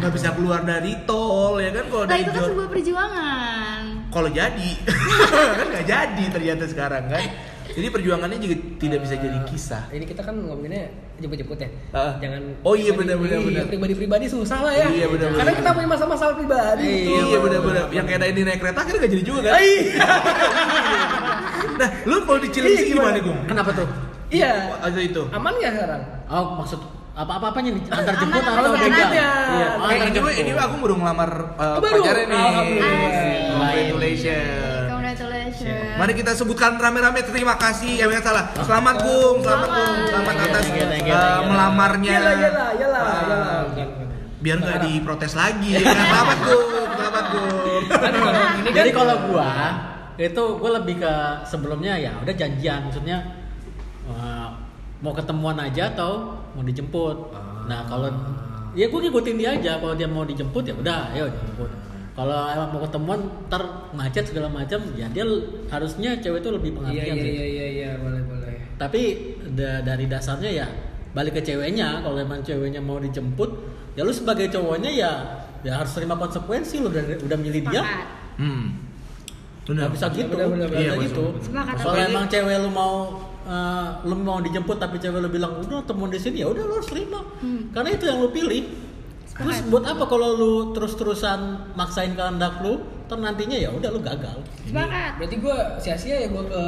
S1: nggak bisa keluar dari tol ya kan kalau
S4: Nah
S1: dari
S4: itu kan
S1: jor-
S4: sebuah perjuangan.
S1: kalau jadi kan nggak jadi ternyata sekarang kan jadi perjuangannya juga tidak bisa jadi kisah
S3: Ini kita kan ngomonginnya jemput-jemput ya.
S1: Ah.
S3: Jangan
S1: Oh iya,
S3: pribadi-
S1: benar, benar,
S3: iya,
S1: benar.
S3: Pribadi-pribadi susah lah ya.
S1: Iya, benar,
S3: Karena
S1: benar.
S3: kita punya masalah-masalah pribadi.
S1: iya,
S3: betul.
S1: benar-benar yang kayak tadi naik kereta akhirnya nggak jadi juga kan
S3: Iya.
S1: nah lu kalau di Cilengsi
S3: Iya,
S1: gimana
S3: gimana?
S1: gung
S2: Kenapa tuh?
S3: Iya.
S1: atau itu
S3: Aman nggak sekarang?
S2: Oh maksud apa-apanya nih antar
S4: Aman,
S2: jemput
S4: aman,
S2: atau
S4: aman.
S2: beda?
S3: Iya.
S2: oh,
S1: Eh,
S2: antar
S1: ini,
S2: jemput.
S1: ini aku baru ngelamar uh,
S3: Oh, baru?
S1: pacarnya nih
S3: Alhamdulillah.
S4: Asik.
S1: Congratulations.
S4: Congratulations.
S1: Mari kita sebutkan rame-rame terima kasih. Ya yang salah. Selamat Gung, selamat Gung, selamat
S4: Selamat.
S1: atas
S2: Thank you, thank you,
S1: uh,
S2: thank you.
S1: melamarnya.
S3: Iyalah, iyalah, iyalah,
S1: Ah,
S3: iyalah.
S1: Biar nggak diprotes lagi. Ya, Selamat Gung, selamat Gung.
S3: Kan kalau ini kan
S2: Jadi kalau gua itu gua lebih ke sebelumnya ya udah janjian maksudnya eh, mau ketemuan aja atau mau dijemput. Nah kalau ya gua ngikutin dia aja kalau dia mau dijemput ya udah ayo dijemput. Kalau emang mau ketemuan ntar macet segala macam ya dia l- harusnya cewek itu lebih
S3: Iya
S2: pengertian
S3: iya
S2: sih.
S3: iya iya iya boleh boleh.
S2: Tapi da- dari dasarnya ya balik ke ceweknya kalau emang ceweknya mau dijemput ya lu sebagai cowoknya ya ya harus terima konsekuensi lu udah udah milih dia.
S4: Sepakat.
S1: Hmm. Benar.
S2: nggak bisa gitu
S3: Bener, bener, bener.
S2: nggak bisa
S1: Iya,
S2: gitu
S1: bener,
S4: bener.
S2: kalau
S1: Makanya-
S2: emang cewek lu mau eh, lu mau dijemput tapi cewek lu bilang udah temuin di sini ya udah lu harus terima
S4: Hmm.
S2: karena itu yang lu pilih terus
S4: Sepakat.
S2: buat apa kalau lu terus-terusan maksain kehendak lu ter nantinya ya udah lu gagal
S4: Sepakat.
S3: Berarti gue sia-sia ya gue ke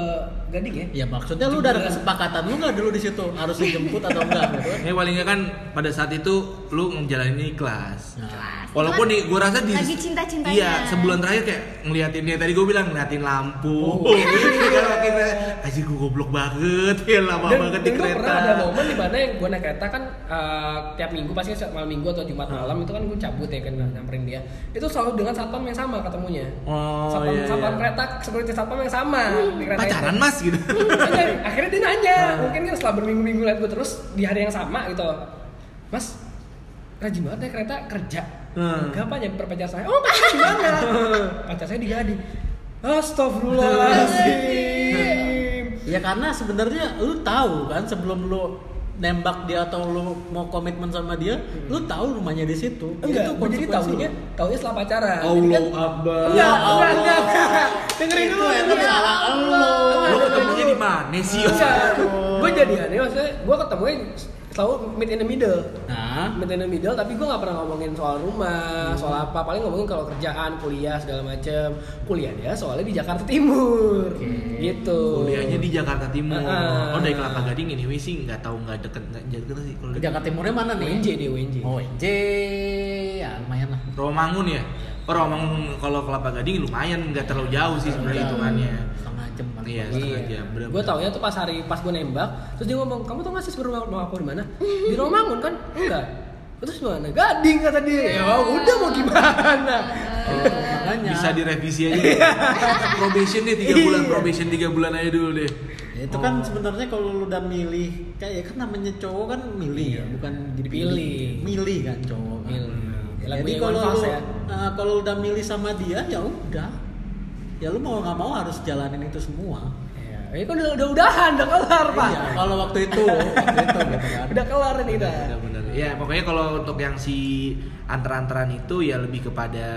S3: Gading ya.
S2: ya maksudnya lu udah ada kesepakatan lu nggak dulu di situ harus dijemput atau enggak gitu kan.
S1: Ya paling nggak kan pada saat itu lu ngejalanin ikhlas.
S2: nah,
S4: Kelas.
S1: Walaupun
S4: Cuman
S1: di, gue rasa di
S4: lagi cinta-cintanya.
S1: Iya, sebulan terakhir kayak ngeliatin dia tadi gue bilang ngeliatin lampu.
S3: Oh.
S1: Gitu kan makin aja gue goblok banget. Ya lama banget di
S3: dan gua
S1: kereta.
S3: pernah ada momen di mana gue naik kereta kan eh, tiap minggu pasti malam minggu atau jumat malam itu kan gue cabut ya kan nyamperin dia itu selalu dengan satpam yang sama ketemunya
S1: Oh,
S3: satpam
S1: iya,
S3: satpam
S1: iya.
S3: kereta security satpam yang sama di kereta itu.
S1: Pacaran Mas gitu.
S3: Nanya, akhirnya dia nanya
S1: Ah.
S3: mungkin kan setelah berminggu-minggu liat gue terus di hari yang sama gitu mas rajin banget ya kereta kerja
S1: Hmm.
S3: Kapan ya perpacar saya? Oh pacar di mana? pacar saya di Gading Astagfirullahaladzim
S2: Ya karena sebenarnya lu tahu kan sebelum lu nembak dia atau lu mau komitmen sama dia, lu tahu rumahnya di situ.
S3: Hmm. Enggak,
S2: Itu Oh,
S3: gua jadi
S2: konsekuensinya. Kan- Iya,
S3: tahunya, tahunya setelah pacaran
S1: Allah Akbar.
S3: Enggak,
S2: Allah.
S3: enggak, enggak, enggak. Dengerin dulu
S2: ya, tapi ala lu.
S1: Lu ketemunya di mana sih?
S3: Iya.
S1: Iya.
S3: Gue jadi aneh, maksudnya gue ketemunya selalu meet in the middle
S2: Nah,
S3: meet in the middle tapi gue nggak pernah ngomongin soal rumah soal
S2: Hmm.
S3: apa paling ngomongin kalau kerjaan kuliah segala macem kuliah dia soalnya di Jakarta Timur gitu
S1: Kuliahnya di Jakarta Timur.
S3: Ah.
S1: Oh dari Kelapa Gading ini wis sih nggak tahu nggak deket nggak deket sih kalau
S2: Jakarta Timurnya mana nih?
S3: WNJ deh WNJ
S2: Oh, NJ. Ya lumayan lah.
S1: Romangun ya. Oh, Romangun kalau Kelapa Gading lumayan nggak terlalu jauh sih sebenarnya hitungannya.
S2: Setengah jam. lah.
S1: Iya, setengah
S3: Iya.
S1: jam. Bener-bener.
S3: Gue taunya tuh pas hari pas gue nembak, terus dia ngomong, "Kamu tau gak sih sebenarnya rumah aku di mana?" Di Romangun kan? Enggak. Terus mana? Gading kata dia. Ya
S2: Iya.
S3: udah mau gimana?
S2: Makanya.
S1: Bisa direvisi aja. deh. probation deh tiga bulan,
S3: Iya.
S1: probation tiga bulan aja dulu deh.
S2: Ya, itu
S1: Oh.
S2: kan sebenarnya kalau lu udah milih kayak ya kan namanya cowok kan milih
S1: Iya.
S2: ya, bukan dipilih.
S3: Dipilih.
S2: Milih kan cowok. kan.
S3: Milih.
S2: Ya,
S3: Lagu
S2: Jadi
S3: Iwan
S2: kalau
S3: Fals
S2: lu
S3: ya.
S2: eh, kalau lu udah milih sama dia ya udah. Ya lu mau nggak mau harus jalanin itu semua.
S3: Ya, ini kan udah udah udahan, udah kelar, Pak.
S2: Iya, kalau waktu itu, waktu itu gitu kan.
S3: Udah kelar ini dah.
S1: Bener-bener. Ya pokoknya kalau untuk yang si antar-antaran itu ya lebih kepada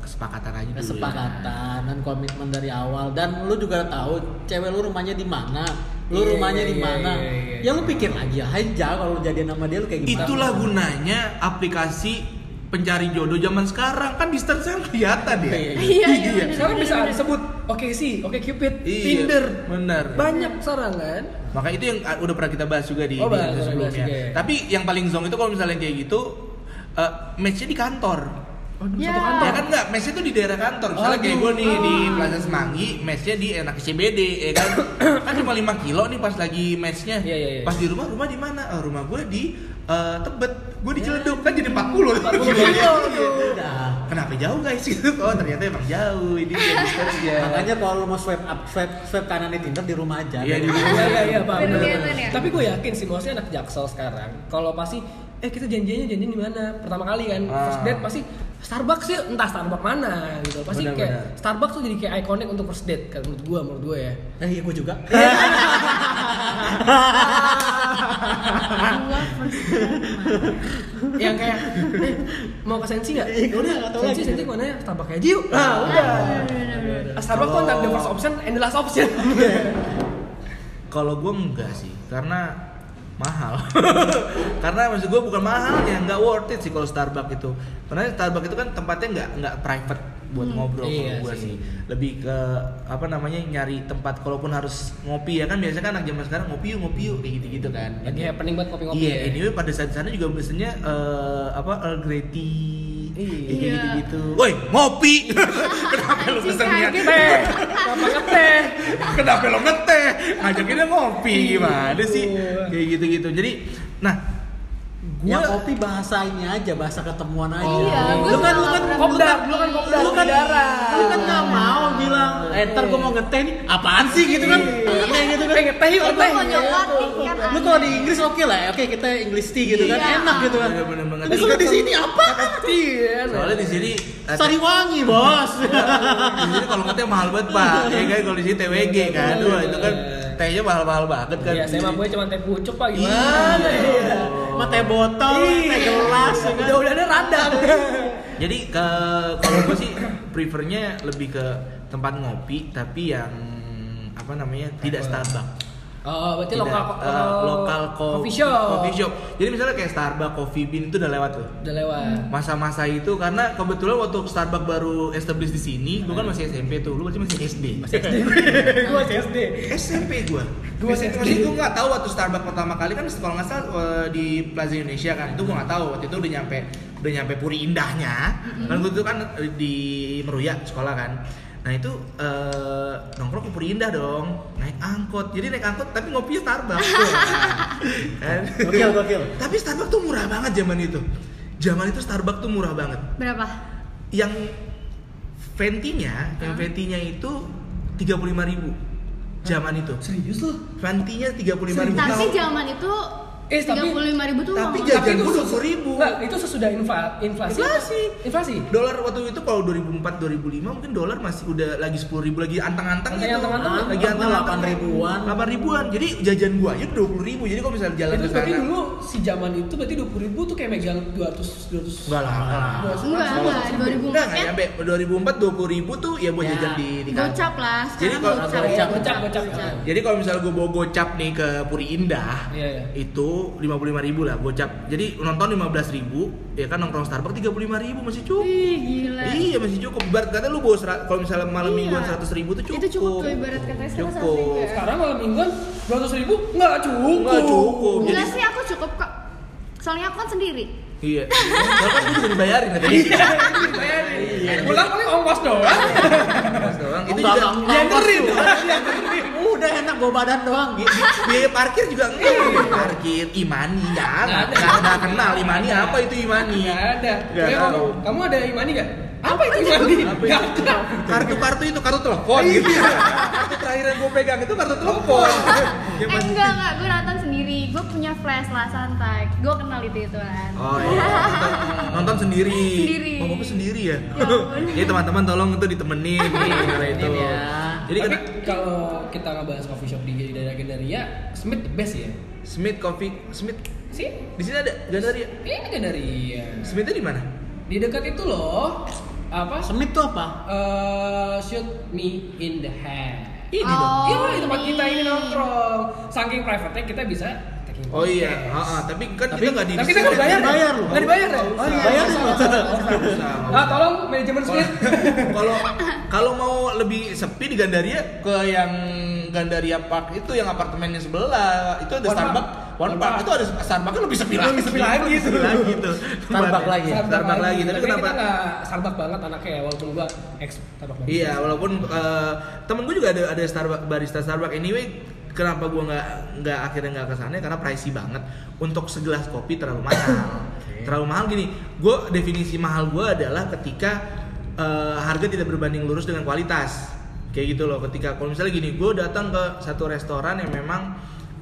S1: kesepakatan aja dulu. Ya.
S2: kesepakatan dan komitmen dari awal dan lu juga tahu cewek lu rumahnya di mana lu
S3: Iya,
S2: rumahnya
S3: iya,
S2: di
S3: iya,
S2: mana
S3: iya, iya,
S2: ya lu pikir lagi aja kalau lu jadian sama dia lu kayak gimana
S1: Itulah gunanya aplikasi pencari jodoh zaman sekarang kan distance-nya kelihatan ya.
S2: Iya,
S4: iya, iya, bener,
S3: Sekarang
S4: bener,
S3: bisa
S4: bener.
S3: disebut oke sih, oke Cupid,
S1: Iya,
S3: Tinder,
S1: bener.
S3: Banyak sarangan.
S1: Maka itu yang uh, udah pernah kita bahas juga di,
S3: Oh,
S1: di
S3: bahas,
S1: episode
S3: udah bahas
S1: sebelumnya.
S3: juga ya.
S1: Tapi yang paling zong itu kalau misalnya kayak gitu eh match-nya di kantor.
S4: Ya.
S1: Ya kan enggak, match-nya tuh di daerah kantor. Misalnya
S3: Oh,
S1: kayak
S3: gitu.
S1: gue nih di Plaza Semanggi, match-nya di enak CBD ya kan. kan cuma 5 kilo nih pas lagi match-nya.
S3: Iya, iya, iya.
S1: Pas di rumah, rumah di mana? Oh, rumah gue di eh, Tebet. Gue
S3: Ya.
S1: di Ciledug kan jadi 40.
S3: 40 jodoh.
S2: Iya, Udah.
S1: Kenapa jauh guys gitu? Oh, ternyata emang jauh. Ini dia distance-nya.
S2: makanya kalau lu mau swipe up swipe swipe kanan di Tinder di rumah aja
S1: Iya, di
S2: Kan?
S1: rumah.
S3: Iya iya iya paham.
S4: Bener,
S3: bener.
S4: bener, ya?
S3: Tapi gue yakin sih maksudnya anak Jaksel sekarang kalau pasti eh kita janjiannya janjian di mana? Pertama kali kan
S1: Ah.
S3: first date pasti Starbucks sih entah Starbucks mana gitu. Pasti
S1: Bener,
S3: kayak
S1: bener.
S3: Starbucks tuh jadi kayak ikonik untuk first date kan menurut gue menurut gue ya.
S2: eh iya gua juga
S4: Gua Iya, first time kemarin.
S3: Yang kayak eh, mau ke Sensi enggak?
S2: Iya, gua udah nggak tahu
S3: Sensi
S2: lagi.
S3: Sensi mana? ya? Starbucks aja yuk.
S1: Ah.
S3: Nah, udah.
S4: Bener, bener, bener.
S3: Starbucks tuh
S1: Kalau-
S3: antara the first option and the last option.
S1: Kalau gue enggak sih, karena mahal. karena maksud gue bukan mahalnya, nggak worth it sih kalau Starbucks itu. Karena Starbucks itu kan tempatnya nggak nggak private buat ngobrol
S3: Iya
S1: kalau gue
S3: sih.
S1: sih. Lebih ke apa namanya nyari tempat kalaupun harus ngopi ya kan biasanya kan anak zaman sekarang ngopi yuk ngopi yuk kayak gitu-gitu kan.
S3: Lagi happening buat kopi-kopi.
S1: Iya,
S3: ya.
S1: anyway pada saat di sana juga biasanya eh, apa Earl Grey tea
S3: Iya.
S1: kayak gitu-gitu. Woi, ngopi. Kenapa lu
S4: Anjing,
S1: pesennya
S4: kaget.
S1: teh?
S3: Kenapa ngeteh?
S1: Kenapa lo ngeteh? Ngajakinnya ngopi gimana sih? Kayak gitu-gitu. Jadi, nah,
S2: ya
S1: gua
S2: kopi bahasanya aja bahasa ketemuan aja
S3: Oh.
S4: Iya, gua
S2: lu kan lu
S4: salah
S2: kan lu
S4: berapa
S2: kan
S3: Kopdar, lu kan kopdar.
S2: lu kan
S3: berdarah.
S2: lu kan nggak mau bilang eh ntar gua mau ngeteh nih apaan sih gitu kan
S4: Iya.
S2: ngeteh gitu kan
S3: Eh, ngeteh yuk,
S4: Eh, gua
S3: ngeteh.
S4: mau nyelotih kan
S2: lu kalau di Inggris oke lah ya. oke kita English tea gitu kan
S4: Iya.
S2: enak gitu kan
S1: Bener-bener banget.
S2: tapi kalau di sini apa
S3: Iya. nah.
S1: soalnya di sini eh,
S2: sari wangi bos
S1: di sini kalau ngeteh mahal banget, Pak. Ya kan kalau di sini TWG kan. Wah, itu kan tehnya mahal-mahal banget kan.
S3: Ya, saya mah gue cuma teh pucuk pak gimana
S1: Iya.
S3: ya?
S2: sama teh botol
S4: Iya.
S2: teh gelas ya kan
S3: Udah-udahannya radang.
S1: Jadi ke kalau gue sih prefernya lebih ke tempat ngopi tapi yang apa namanya tidak Starbucks.
S3: Oh, berarti
S1: Tidak,
S3: lokal
S1: eh, lokal ko-
S3: coffee shop.
S1: coffee shop. Jadi misalnya kayak Starbucks, Coffee Bean itu udah lewat tuh.
S3: Udah lewat.
S1: Masa-masa itu karena kebetulan waktu Starbucks baru establish di sini, gue kan masih SMP tuh, lu masih masih SD.
S3: Gue masih SD.
S1: SMP gua.
S3: Gua
S1: SMP.
S3: SD.
S1: Maksudnya gua nggak tahu waktu Starbucks pertama kali kan kalau nggak salah eh, di Plaza Indonesia kan itu gua nggak tahu waktu itu udah nyampe udah nyampe Puri Indahnya kan gua tuh kan eh, di Meruya sekolah kan nah itu eh, nongkrong ke Puri Indah dong naik angkot jadi naik angkot tapi ngopinya Starbucks tuh. Kan?
S2: Gokil, gokil.
S1: tapi Starbucks tuh murah banget zaman itu zaman itu Starbucks tuh murah banget
S4: Berapa?
S1: yang ventinya yang
S4: Hah?
S1: ventinya itu 35.000 zaman itu
S3: Serius loh?
S1: Vantinya 35 ribu
S4: Tapi zaman itu
S3: Eh,
S4: tiga
S3: tapi
S4: puluh lima ribu tuh
S1: tapi
S4: uang.
S1: jajan
S3: Tapi itu
S1: gua 20.000.
S3: se- Enggak, itu sesudah infa- inflasi.
S1: Inflasi.
S3: Inflasi.
S1: Dolar waktu itu kalau 2004 2005 mungkin dolar masih udah lagi 10 ribu lagi antang-antang
S3: Lagi
S1: gitu.
S3: antang-antang,
S1: lagi
S2: antang-antang,
S1: antang-antang
S2: 8 ribuan.
S1: 8 ribuan. Jadi jajan gua aja 20 ribu. Jadi kalau misalnya jalan
S3: itu
S1: ke
S3: berarti
S1: sana
S3: dulu si zaman itu berarti 20.000 ribu tuh kayak megang 200 200
S2: Enggak lah, enggak lah.
S3: 200.
S4: enggak enggak dua ribu
S1: Enggak, enggak nyampe 2004 20 ribu tuh ya buat
S2: Ya.
S1: jajan di di kantor.
S4: gocap lah
S1: Jadi
S4: sekarang
S1: kalau-
S4: ya,
S2: gocap,
S3: gocap, gocap.
S1: Jadi kalau misalnya gue bawa gocap nih ke Puri Indah,
S3: Iya, iya.
S1: itu 55.000 ribu lah gocap. Jadi nonton 15.000 ribu, ya kan nongkrong Starbucks 35.000 ribu masih cukup.
S4: Ih, gila
S1: Iya masih cukup. Ibarat kata lu bawa serat- kalau misalnya malam
S4: Iya.
S1: mingguan 100.000 ribu tuh cukup.
S4: Itu cukup tuh, ibarat katanya sekarang
S1: Cukup.
S4: 100.000 ya.
S3: Sekarang malam mingguan 200 ribu nggak cukup.
S1: Nggak cukup.
S4: enggak
S1: Jadi-
S4: sih aku cukup kok soalnya aku kan sendiri
S1: Iya. Soalnya kan gue juga dibayarin katanya.
S3: Pulang paling ongkos doang.
S1: Mas doang. Itu
S2: Enggak,
S1: juga
S2: enggak, enggak,
S1: dianterin.
S2: Udah enak bawa badan doang gitu.
S1: Biaya parkir juga enggak. Biaya parkir Imani enggak ada.
S3: Nggak ada.
S1: Enggak ada kenal Imani apa itu Imani.
S3: Nggak ada.
S1: Nggak
S3: Kayak
S1: tahu.
S3: ngomong, Kamu ada imani nggak? Apa itu imani? Nggak ada.
S1: Kartu-kartu itu kartu telepon gitu. Kartu terakhir yang gue pegang itu kartu telepon.
S4: eh enggak enggak gue nonton sendiri gue punya flash lah santai gue kenal itu ituan
S1: Oh iya. Nonton- Nonton sendiri.
S4: Sendiri.
S1: Oh, Bapak sendiri ya?
S4: Ya ampun. Iya,
S1: Jadi teman-teman tolong itu ditemenin nih karena itu.
S2: Ditemenin ya.
S1: Jadi kan
S3: Tapi
S1: kena
S3: kalau kita ngebahas coffee shop di daerah Gandaria, Smith the best ya.
S1: Smith Coffee Smith
S3: Sih?
S1: di sini ada Gandaria.
S3: Ini Gandaria.
S1: Smithnya di mana?
S3: Iya, Di dekat itu loh. Apa?
S2: Semit tuh apa?
S3: Eh, shoot me in the head.
S1: Ini
S4: Oh.
S1: dong.
S3: Iya, di tempat kita ini
S4: ini.
S3: nongkrong. Saking private-nya kita bisa taking
S1: Oh iya,
S3: podcast.
S1: ha, ha. tapi kan
S3: Tapi
S1: kita nggak di.
S3: tapi kita nggak dibayar, ya?
S2: Bayar loh.
S3: Nggak dibayar ya?
S1: Oh, iya.
S2: Bayarin loh.
S3: Ah, tolong manajemen Smith.
S1: Oh. Kalau kalau mau lebih sepi di Gandaria ke yang Gandaria Park itu yang apartemennya sebelah itu ada
S3: One
S1: Starbucks.
S3: Park.
S1: One
S3: One
S1: Park
S3: Park.
S1: itu ada Starbucks lebih sepi lagi.
S3: Lebih sepi lagi.
S1: Lebih sepi lagi tuh.
S2: Starbucks lagi.
S1: Iya, Starbucks, lagi. Tapi kenapa?
S3: Kita nggak Starbucks banget anaknya ya, walaupun gua ex Starbucks banget.
S1: Iya, walaupun eh, temen gue juga ada ada Starbucks barista Starbucks. Anyway, kenapa gue nggak nggak akhirnya nggak kesana ya? karena pricey banget. Untuk segelas kopi terlalu mahal. terlalu mahal gini. Gue definisi mahal gue adalah ketika eh, harga tidak berbanding lurus dengan kualitas. Kayak gitu loh. Ketika kalau misalnya gini, gue datang ke satu restoran yang memang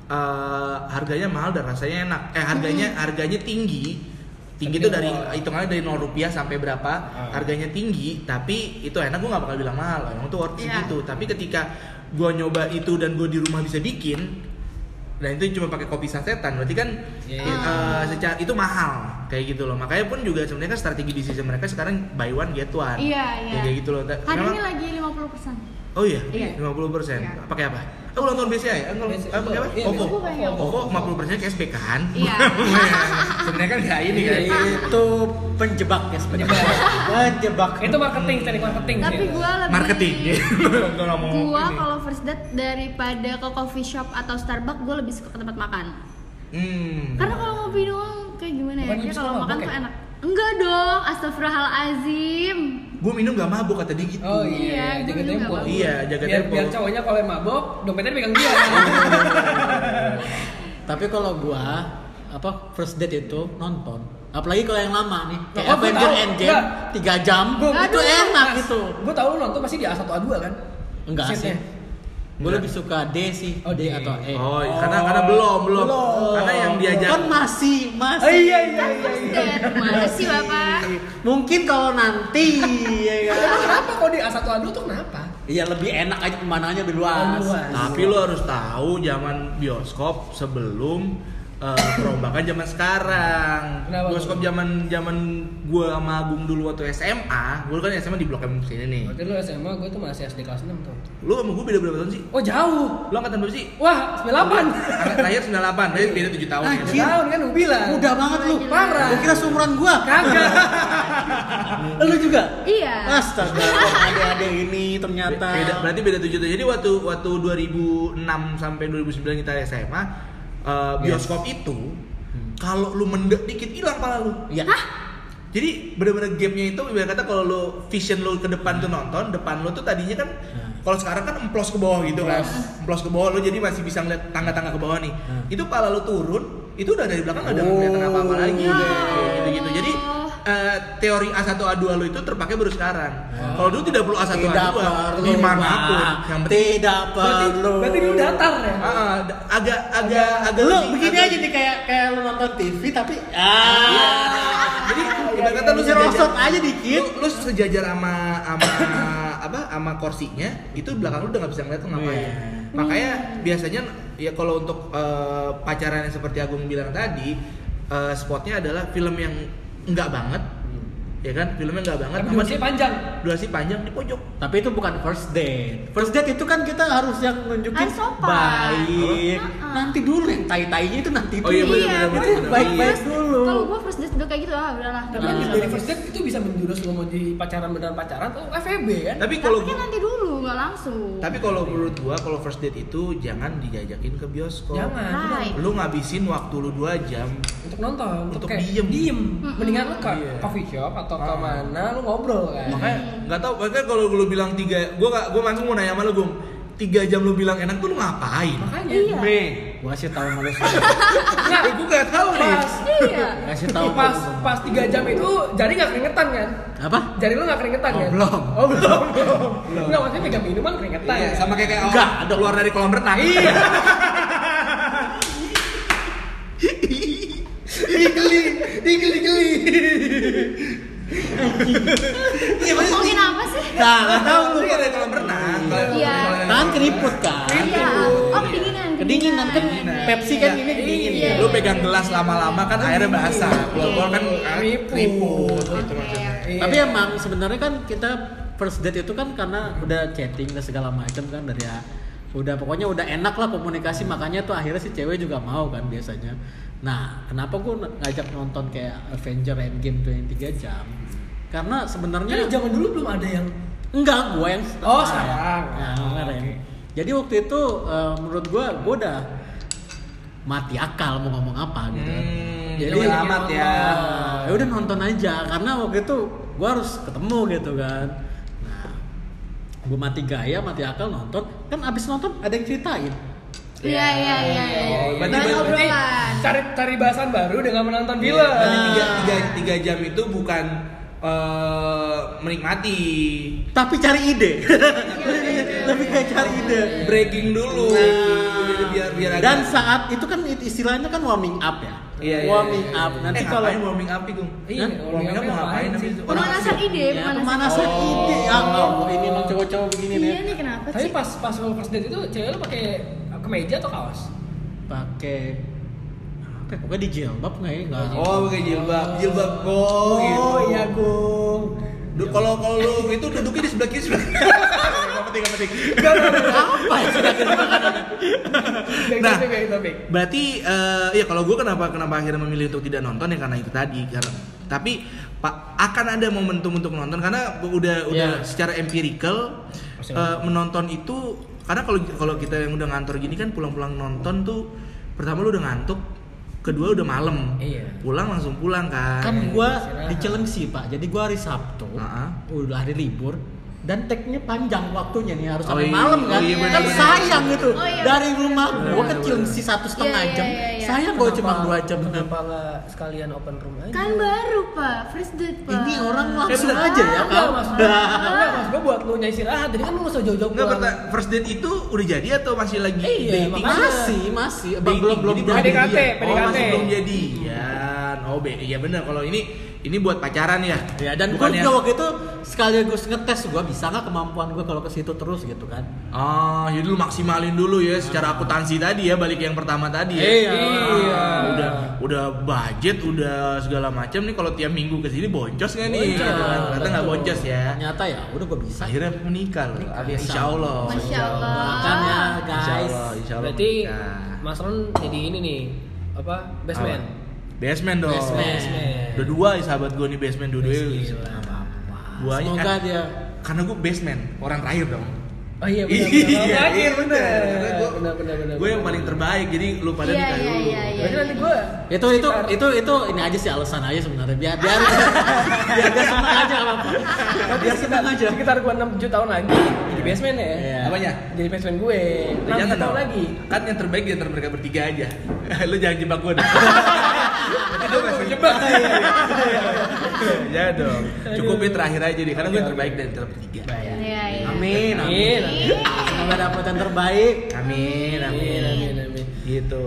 S1: eh, harganya mahal dan rasanya enak. Eh harganya harganya tinggi. Tinggi itu
S3: Mm-hmm. Tapi
S1: dari
S3: mahal.
S1: hitungannya dari 0 rupiah sampai berapa
S3: Ah.
S1: harganya tinggi tapi itu enak gue nggak bakal bilang mahal emang itu worth it
S4: Iya.
S1: gitu tapi ketika gue nyoba itu dan gue di rumah bisa bikin dan itu cuma pakai kopi sasetan berarti kan
S3: Iya.
S1: eh, secara itu mahal kayak gitu loh makanya pun juga sebenarnya kan strategi bisnis mereka sekarang buy one get one
S4: Iya, iya.
S1: Ya, kayak gitu loh Ta-
S4: hari
S1: memang-
S4: ini lagi 50 persen
S1: oh iya
S4: Iya.
S1: 50 persen
S4: Iya.
S1: pakai apa aku ulang tahun BCA ya Eh, nggak-
S3: BCA.
S1: eh, pakai apa
S3: Iya,
S1: OVO
S4: Ovo kayaknya.
S1: OVO 50 persen cashback kan
S4: Iya.
S1: sebenarnya kan nggak ini kan
S3: Iya.
S2: Itu penjebak ya sebenarnya. Penjebak.
S3: Itu marketing, teknik marketing.
S4: tapi
S3: gitu.
S1: iya.
S4: gue lebih
S1: marketing gue nggak mau
S4: gue
S1: ini.
S4: kalau first date daripada ke coffee shop atau Starbucks gue lebih suka ke tempat makan
S1: Hmm.
S4: Karena kalau ngopi doang kayak gimana ya?
S3: Bukan
S4: Kayak
S3: bisa
S4: kalau
S3: mabok
S4: makan
S3: ya?
S4: tuh enak. Enggak dong, astagfirullahalazim.
S1: Gue minum gak mabuk kata dia gitu.
S3: Oh
S4: Iya,
S3: iya,
S4: gua
S3: jaga
S4: minum
S3: tempo.
S4: nggak
S1: apa-apa. Iya, jaga
S3: biar,
S1: tempo.
S3: Biar cowoknya kalau yang mabok, dompetnya pegang dia.
S2: Tapi kalau gua apa first date itu nonton. Apalagi kalau yang lama nih, kayak
S3: Oh, gua
S2: Avenger
S3: tahu.
S2: Endgame
S3: Enggak.
S2: 3 jam, itu enak gitu.
S3: Gue tau lu nonton pasti di A1 A2 kan?
S2: Enggak sih.
S3: Seatnya.
S2: Gue
S1: Enggak.
S2: lebih suka D sih,
S3: Oh,
S2: D
S3: D.
S2: atau E.
S1: Oh, karena karena belum, belum. Karena yang diajak
S2: Kan masih, masih.
S3: Oh, iya, iya, iya.
S4: First date, mana sih bapak?
S2: Mungkin kalau nanti ya kan.
S3: Emang kenapa kalau di A1 A2 tuh kenapa?
S2: Iya lebih enak aja pemandangannya lebih luas.
S3: Lebih luas.
S1: tapi lo harus tahu zaman bioskop sebelum eh, perombakan zaman sekarang.
S3: Kenapa?
S1: Bioskop zaman zaman gua sama Agung dulu waktu SMA, gua kan SMA di Blok M sini nih.
S3: Berarti lu SMA, gue tuh masih SD kelas 6 tuh.
S1: Lu sama gua beda berapa tahun sih?
S3: Oh
S1: Lu
S3: jauh.
S1: angkatan berapa sih?
S3: Wah, 98.
S1: Angkat terakhir 98, berarti beda 7 tahun ya.
S2: Anjir.
S3: tahun kan lu bilang.
S2: Mudah banget lu.
S3: Parah.
S2: Gua kira seumuran gua.
S3: Kagak.
S2: Lu juga?
S4: Iya.
S2: Astaga, ada-ada ini ternyata.
S1: Be- beda- berarti beda 7 tahun. Jadi waktu waktu 2006 sampai 2009 kita SMA eh, bioskop itu kalau lu mendek dikit hilang pala lu.
S2: Iya.
S1: Jadi bener-bener gamenya itu ibarat kata kalau lu vision lu ke depan tuh nonton, depan lu tuh tadinya kan
S2: Hmm.
S1: kalau sekarang kan emplos ke bawah gitu kan. Emplos ke bawah lu jadi masih bisa ngeliat tangga-tangga ke bawah nih.
S2: Hmm.
S1: Itu pala lu turun, itu udah dari belakang nggak ada
S2: Oh.
S1: kelihatan apa-apa lagi.
S4: Ya
S1: Gitu-gitu. Jadi
S4: Allah.
S1: eh, teori A1 A2 lo itu terpakai baru sekarang. Kalau dulu tidak perlu A1
S2: Hmm. tidak
S1: A2
S2: perlu
S1: dimanapun.
S2: Pak.
S1: Yang penting
S2: tidak
S3: Berarti,
S2: perlu
S3: berarti dulu datar ya.
S1: Ah, ah, da- agak agak agak
S2: lu
S1: lebih-
S2: begini
S1: agak-
S2: aja nih kayak kayak lu nonton TV tapi ah
S1: Jadi kata lu sejajar
S2: serosot aja
S1: lu,
S2: dikit
S1: lu sejajar sama sama apa sama kursinya itu belakang lu udah nggak bisa ngeliat tuh ngapain.
S2: Iya.
S1: Makanya biasanya ya kalau untuk eh, pacaran yang seperti Agung bilang tadi eh, spotnya adalah film yang enggak banget ya kan filmnya enggak banget
S3: Tapi
S1: sama
S3: durasinya panjang.
S1: durasi panjang di pojok
S2: tapi itu bukan first date first date itu kan kita harus yang nunjukin
S4: Harus sopan.
S2: baik
S4: Heeh.
S2: nanti dulu yang tai tainya itu nanti
S1: Oh iya,
S2: dulu.
S1: bener, bener,
S2: Itu
S1: bener.
S2: baik baik
S4: Terus,
S2: dulu
S4: Kalau gua first date juga kayak gitu lah, udah lah.
S3: Tapi
S2: Ah.
S3: kan dari first date itu bisa menjurus lo mau di pacaran beneran pacaran atau FEB kan?
S1: tapi kalau
S4: Tapi kan
S1: gua-
S4: nanti dulu, nggak langsung.
S1: tapi kalau menurut gua kalau first date itu jangan dijajakin ke bioskop
S3: Jangan.
S4: Right.
S1: lu ngabisin waktu lu 2 jam
S3: Untuk nonton, untuk,
S1: Untuk
S3: kayak
S1: diem.
S3: diem.
S4: Mm-mm.
S3: Mendingan lo ke
S1: Iya.
S3: coffee shop atau ke
S1: Ah. Iya.
S3: mana lo ngobrol kan.
S1: makanya
S2: Eh,
S1: nggak tahu makanya kalau lu bilang tiga gua gak gua langsung mau nanya sama lu Gung tiga jam lu bilang enak tuh lu ngapain
S3: Makanya.
S4: Iya.
S2: Meh, gua kasih tahu sama lu semua.
S3: Nah,
S1: Eh, gua gak tahu nih
S3: pas
S4: Iya.
S2: kasih tahu
S3: pas
S2: sama lu.
S3: pas 3 jam itu jari nggak keringetan kan?
S2: apa
S3: Jari lo nggak keringetan
S2: Oh,
S3: kan?
S2: belum.
S3: Oh belum. belum. Nggak maksudnya pegang minuman keringetan.
S1: Iya,
S3: kan?
S1: sama kayak kayak
S2: Enggak,
S1: orang
S2: ada-
S1: keluar dari kolam renang. Iya.
S3: Geli, geli, geli.
S1: Iya, maksudnya
S4: Ngomongin apa sih?
S2: nah nggak tahu lu
S1: keluar dari kolam renang.
S4: Iya.
S2: tangan keriput kan
S1: gitu.
S4: Iya. Oh, kedinginan.
S2: kedinginan kan
S4: Iya,
S2: Pepsi
S4: iya.
S2: kan ini dingin
S4: Iya.
S1: Lu pegang gelas lama-lama kan airnya basah. Keluar-keluar kan
S4: Iya.
S1: keriput gitu
S4: Oke.
S1: maksudnya.
S3: Iya.
S2: Tapi emang sebenarnya kan kita first date itu kan karena udah chatting dan segala macam kan dari ya, udah pokoknya udah enak lah komunikasi makanya tuh akhirnya si cewek juga mau kan biasanya. Nah, kenapa gue ngajak nonton kayak Avenger Endgame 23 jam? Karena
S3: Kan
S2: sebenarnya
S3: zaman dulu belum ada yang
S2: Enggak, gua yang
S3: Oh, sekarang.
S1: Ah,
S2: Nah,
S3: Oh,
S2: kemarin.
S3: oke.
S2: Jadi waktu itu eh, menurut gua gua udah mati akal mau ngomong apa gitu. kan.
S1: Hmm,
S2: Jadi
S1: bodo amat ya.
S2: Ah, ya udah nonton aja karena waktu itu gua harus ketemu gitu kan. Nah, gua mati gaya, mati akal nonton. Kan abis nonton ada yang ceritain.
S4: Iya, iya, iya, iya.
S1: Oh, berarti-
S4: Bahan
S1: berarti-
S4: obrolan.
S3: cari cari bahasan baru dengan menonton film.
S1: Berarti
S2: Nah.
S1: tiga, tiga, tiga jam itu bukan eh, menikmati
S2: Tapi cari ide. Lebih kayak cari ide.
S1: breaking dulu Jadi
S2: Nah,
S1: Nah, biar biar
S2: dan
S1: agak-
S2: saat itu kan it- istilahnya kan warming up ya.
S1: Iya, iya,
S2: warming
S1: iya, iya.
S2: up. Nanti
S1: eh,
S2: kalau
S1: ngapain warming up Gung?
S3: Iya,
S2: Hah?
S1: warming up mau ngapain Oh,
S3: sih?
S1: habis itu?
S4: Pemanasan ide,
S2: ya,
S4: Iya, pemanasan.
S2: pemanasan ide. Ya Allah, ini emang cowok-cowok begini nih.
S4: Iya nih kenapa
S3: Tapi
S4: sih?
S3: pas pas lo first date itu cewek lo pakai kemeja atau kaos?
S2: Pakai apa? ya, Pokoknya di jilbab nggak ya? Nggak.
S1: Oh, pakai jilbab, jilbab gong. gitu.
S3: Gung.
S1: Du- Kalau kalau lu itu duduknya di sebelah kiri sebelah. Gak penting, gak penting.
S2: apa ya?
S3: Baik
S1: Nah.
S3: topik, baik topik.
S1: Berarti eh, ya kalau gue kenapa kenapa akhirnya memilih untuk tidak nonton ya karena itu tadi karena tapi pak akan ada momentum untuk nonton karena udah udah
S2: Ya.
S1: secara empirical
S3: Pasti
S1: eh, menonton itu karena kalau kalau kita yang udah ngantor gini kan pulang-pulang nonton tuh pertama lu udah ngantuk kedua udah malam
S3: Iya.
S1: pulang langsung pulang kan,
S2: kan gua di Cilengsi pak, jadi gua hari Sabtu,
S1: Ah, ah.
S2: udah hari libur dan tagnya panjang waktunya nih harus
S1: Oh,
S2: sampai
S1: iya.
S2: malam
S1: Oh,
S2: kan,
S1: iya,
S2: kan
S4: benar-benar.
S2: sayang gitu
S4: Oh, iya,
S2: dari
S4: benar.
S2: rumah gua ke
S1: Benar-benar.
S2: Cilengsi satu setengah
S4: Iya, iya,
S2: jam,
S4: iya, iya.
S2: sayang gua cuma
S3: Kenapa-
S2: dua jam
S3: Kenapa nggak sekalian open room aja?
S4: Kan baru, Pak. First date, Pak. Iya,
S2: Ini orang langsung
S1: bener.
S2: aja ya
S3: Enggak
S2: kau.
S3: mas, enggak mas, gue buat lu nyai istirahat, jadi kan lu nggak usah jauh-jauh
S1: Nggak,
S3: pulang.
S1: perta- first date itu udah jadi atau masih lagi
S3: Iya,
S1: dating?
S3: makanya.
S2: Masih, masih. Bang,
S1: Dating,
S2: belum belum
S1: jadi
S2: belum
S1: belum
S3: PDKT,
S2: jadian.
S1: Oh, masih
S3: PDKT.
S1: belum jadian. Oh, be iya benar kalau ini ini buat pacaran ya.
S2: Ya dan gue
S1: bukannya
S2: juga waktu itu sekaligus ngetes gue bisa nggak kemampuan gue kalau ke situ terus gitu kan.
S1: Oh, jadi lu maksimalin dulu ya secara akuntansi tadi ya balik yang pertama tadi ya.
S2: Iya.
S1: Ah, udah udah budget, udah segala macam nih kalau tiap minggu ke sini boncos nggak nih?
S2: Boncos,
S1: Gitu kan. Ternyata nggak
S2: betul.
S1: boncos ya.
S2: Ternyata ya udah gue bisa.
S1: Akhirnya menikah loh. Alias
S2: Masya
S1: Insya Allah.
S4: Masya Allah.
S2: Makanya
S3: Ah.
S1: Insya
S2: guys.
S1: Allah, insya Allah
S3: ya, Berarti
S1: menikah.
S3: Mas Ron jadi ini nih, apa, best man?
S1: Apa? Basement dong.
S2: Basement.
S1: Udah dua ya sahabat gue nih basement dua-dua.
S2: Gila, apa-apa.
S1: Buahnya
S2: Semoga
S1: kan-
S2: dia
S1: Karena gue basement, orang terakhir dong.
S3: Oh iya, benar,
S1: Iya,
S3: benar, terakhir,
S1: iya,
S3: benar,
S1: karena gua-
S3: benar, benar, benar.
S1: Gue yang paling terbaik, jadi lu pada
S4: Iya,
S1: nikah
S4: iya,
S1: dulu.
S4: iya, iya.
S3: Berarti nanti gue
S2: itu itu itu itu ini aja sih alasan aja sebenarnya biar biar biar dia senang aja nggak apa-apa biar senang Nah, aja
S3: sekitar gue 6 7 tahun lagi jadi basement ya.
S2: Iya.
S1: Apanya?
S3: Jadi basement gue.
S1: Ya,
S3: 6
S1: jangan
S3: tahun
S1: dong.
S3: lagi.
S1: Kan yang terbaik di antara mereka bertiga aja. lu jangan jebak gue dong. dong kasih.
S3: Iya,
S1: Ya dong. Cukupin terakhir aja deh, karena gue yang terbaik dan tertiga.
S4: Iya, iya.
S2: Amin, amin.
S3: Amin.
S2: Semoga dapet yang terbaik
S1: Amin, amin,
S3: iya,
S1: amin, amin. Gitu.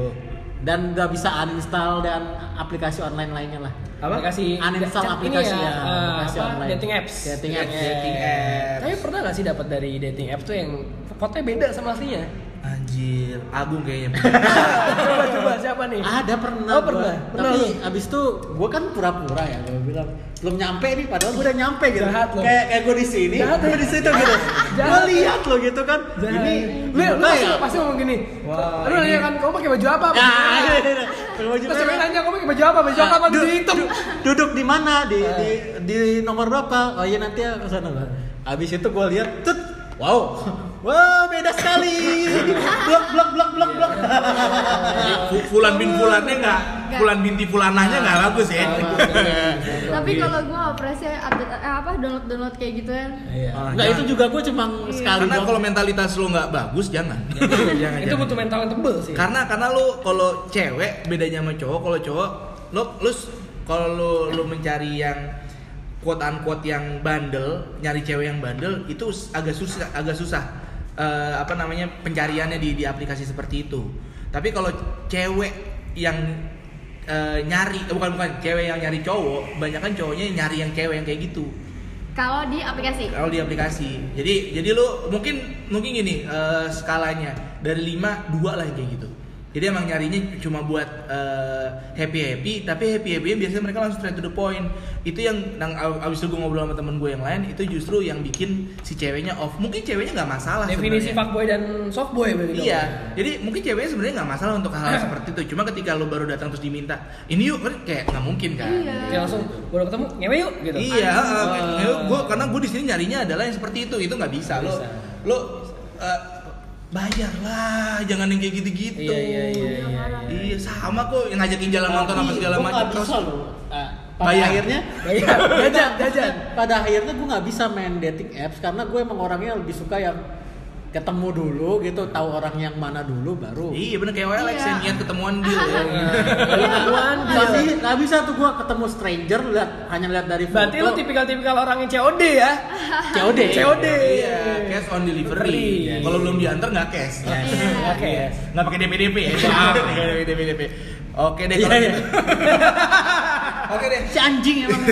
S2: dan nggak bisa uninstall dan aplikasi online lainnya lah.
S3: apa kasih
S2: Uninstall aplikasi ya, aplikasi online.
S3: eh, dating apps Iya.
S2: Dating apps.
S1: Dating apps.
S3: tapi pernah nggak sih dapat dari dating apps tuh yang fotonya beda sama aslinya
S1: Anjir, Agung kayaknya.
S3: coba coba siapa nih
S2: Ada pernah.
S3: Oh, pernah,
S2: gua.
S3: pernah
S2: Tapi abis itu gue kan pura-pura ya, gue bilang belum nyampe nih, padahal gue udah nyampe gitu.
S3: Jahat lo.
S2: Kayak kayak gue di sini,
S3: Jahat
S2: gue
S3: ya.
S2: di situ gitu.
S3: Jahat.
S2: Gue lihat lo gitu kan. Ini
S3: lu lu
S2: gimana
S3: pasti, pasti ngomong gini
S1: Wah,
S3: lu nanya
S1: ini-
S3: kan kamu pakai baju apa
S2: Ya, Ah, iya, iya, iya. Pakai baju
S3: terus
S2: merah.
S3: yang nanya kamu pakai baju apa baju apa
S2: Du-
S3: baju hitam Ah.
S2: du- duduk di mana di, di di nomor berapa oh iya nanti ya ke sana lah abis itu gue lihat tut wow wow beda sekali blok blok blok blok blok
S3: Iya,
S1: Fu- Fulan bin Fulannya nggak, Fulan binti Fulananya nggak bagus ya.
S4: Tapi kalau gue operasi update eh, apa download download kayak gitu kan.
S2: Iya.
S1: Ah,
S2: Nggak,
S1: jangan.
S2: itu juga gue cuma sekali
S1: Karena
S2: doang.
S1: kalau mentalitas lo nggak bagus jangan. Jangan, jangan.
S3: itu butuh mental yang tebel sih
S1: Karena karena lu kalau cewek bedanya sama cowok, kalau cowok lu lu s- kalau lu, lu mencari yang quote unquote yang bandel, nyari cewek yang bandel itu s- agak susah agak susah eh, apa namanya pencariannya di di aplikasi seperti itu. Tapi kalau cewek yang eh, nyari eh, bukan bukan cewek yang nyari cowok, banyak kan cowoknya yang nyari yang cewek yang kayak gitu
S4: Kalau di aplikasi. Iya.
S1: kalau di aplikasi. Jadi jadi lu mungkin mungkin gini eh, skalanya dari 5 2 lah yang kayak gitu. Jadi emang nyarinya cuma buat happy happy, tapi happy happy biasanya mereka langsung straight to the point. Itu yang yang ab- abis itu gue ngobrol sama temen gue yang lain, itu justru yang bikin si ceweknya off. Mungkin ceweknya nggak masalah.
S3: definisi gitu.
S1: sebenarnya.
S3: fuckboy dan softboy berarti dong.
S1: Iya, jadi mungkin ceweknya sebenarnya nggak masalah untuk hal-hal seperti itu. Cuma ketika lu baru datang terus diminta, ini yuk kan kayak nggak mungkin kan?
S4: Iya.
S3: Dia langsung baru ketemu ngewe yuk gitu
S1: Iya, heeh.
S3: Ah.
S1: Ya, gua karena gue di sini nyarinya adalah yang seperti itu, itu nggak bisa.
S3: Nggak
S1: Lo,
S3: bisa.
S1: lo eh, bayarlah, jangan yang kayak gitu-gitu.
S3: Iya, iya, iya, iya,
S4: iya.
S1: Iya, sama kok yang ngajakin jalan nonton apa
S2: Tapi
S1: segala
S2: gua
S1: macam.
S2: nggak
S1: Terus
S2: bisa lo Ah, pada
S1: Bayar.
S2: akhirnya
S3: Bayar, jajan, jajan.
S2: pada akhirnya gue nggak bisa main dating apps karena gue emang orangnya lebih suka yang ketemu dulu gitu tahu orang yang mana dulu baru Iya,
S1: Iya bener kayak Alex
S4: Iya.
S1: yang niat ketemuan deal.
S3: Kalau ketemuan
S2: Nggak bisa- nggak bisa tuh gue ketemu stranger lihat hanya lihat dari foto
S3: berarti lu tipikal-tipikal orang yang COD ya
S2: COD
S3: COD
S1: Iya, cash on delivery.
S3: Iya.
S1: Kalau belum diantar nggak cash.
S2: Iya.
S1: Iya.
S3: oke
S1: Nggak pakai DPDP ya. Maaf, nggak pakai DPDP. Oke deh kalau
S2: Iya,
S1: gitu. Oke deh.
S2: si anjing emang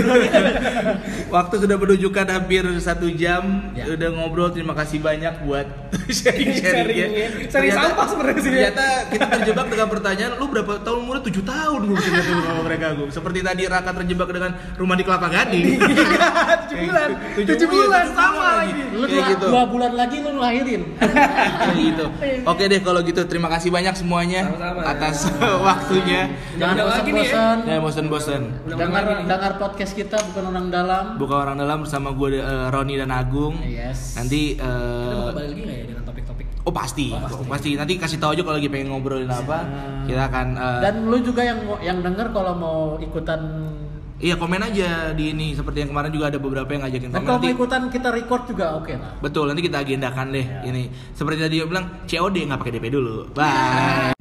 S1: Waktu sudah menunjukkan hampir satu jam,
S2: Ya.
S1: udah ngobrol. Terima kasih banyak buat sharing-sharingnya.
S3: Sharingnya. Sharing
S1: Ternyata-
S3: sampah sebenarnya sih.
S1: Ternyata kita terjebak dengan pertanyaan, lu berapa tahun umurnya? 7 tahun gue bisa ketemu sama mereka gue. Seperti tadi Raka terjebak dengan rumah di Kelapa Gading.
S3: tujuh bulan tujuh bulan sama lagi
S2: lu
S1: Kayak
S2: dua,
S1: gitu.
S2: dua bulan lagi lu lahirin
S1: Kayak gitu. Oke deh kalau gitu terima kasih banyak semuanya
S3: Sama-sama.
S1: atas waktunya.
S2: jangan
S3: Udah lagi nih,
S2: bosan-bosan
S1: Ya bosen-bosen.
S2: dengar dengar podcast kita bukan orang dalam
S1: Buka orang dalam bersama gue eh, Roni dan Agung.
S2: Yes.
S1: Nanti eh,
S3: Kita mau kembali lagi nggak ya dengan topik-topik
S1: Oh pasti, pasti. Nanti kasih tahu aja kalau lagi pengen ngobrolin apa, kita akan. eh,
S2: dan lu juga yang yang denger kalau mau ikutan
S1: iya komen aja di ini. Seperti yang kemarin juga ada beberapa yang ngajakin
S2: dan
S1: komen.
S2: Nah, kalau mau
S1: Nanti,
S2: ikutan kita record juga oke lah
S1: betul. Nanti kita agendakan deh ini. Seperti tadi dia bilang COD nggak pakai DP dulu. Bye.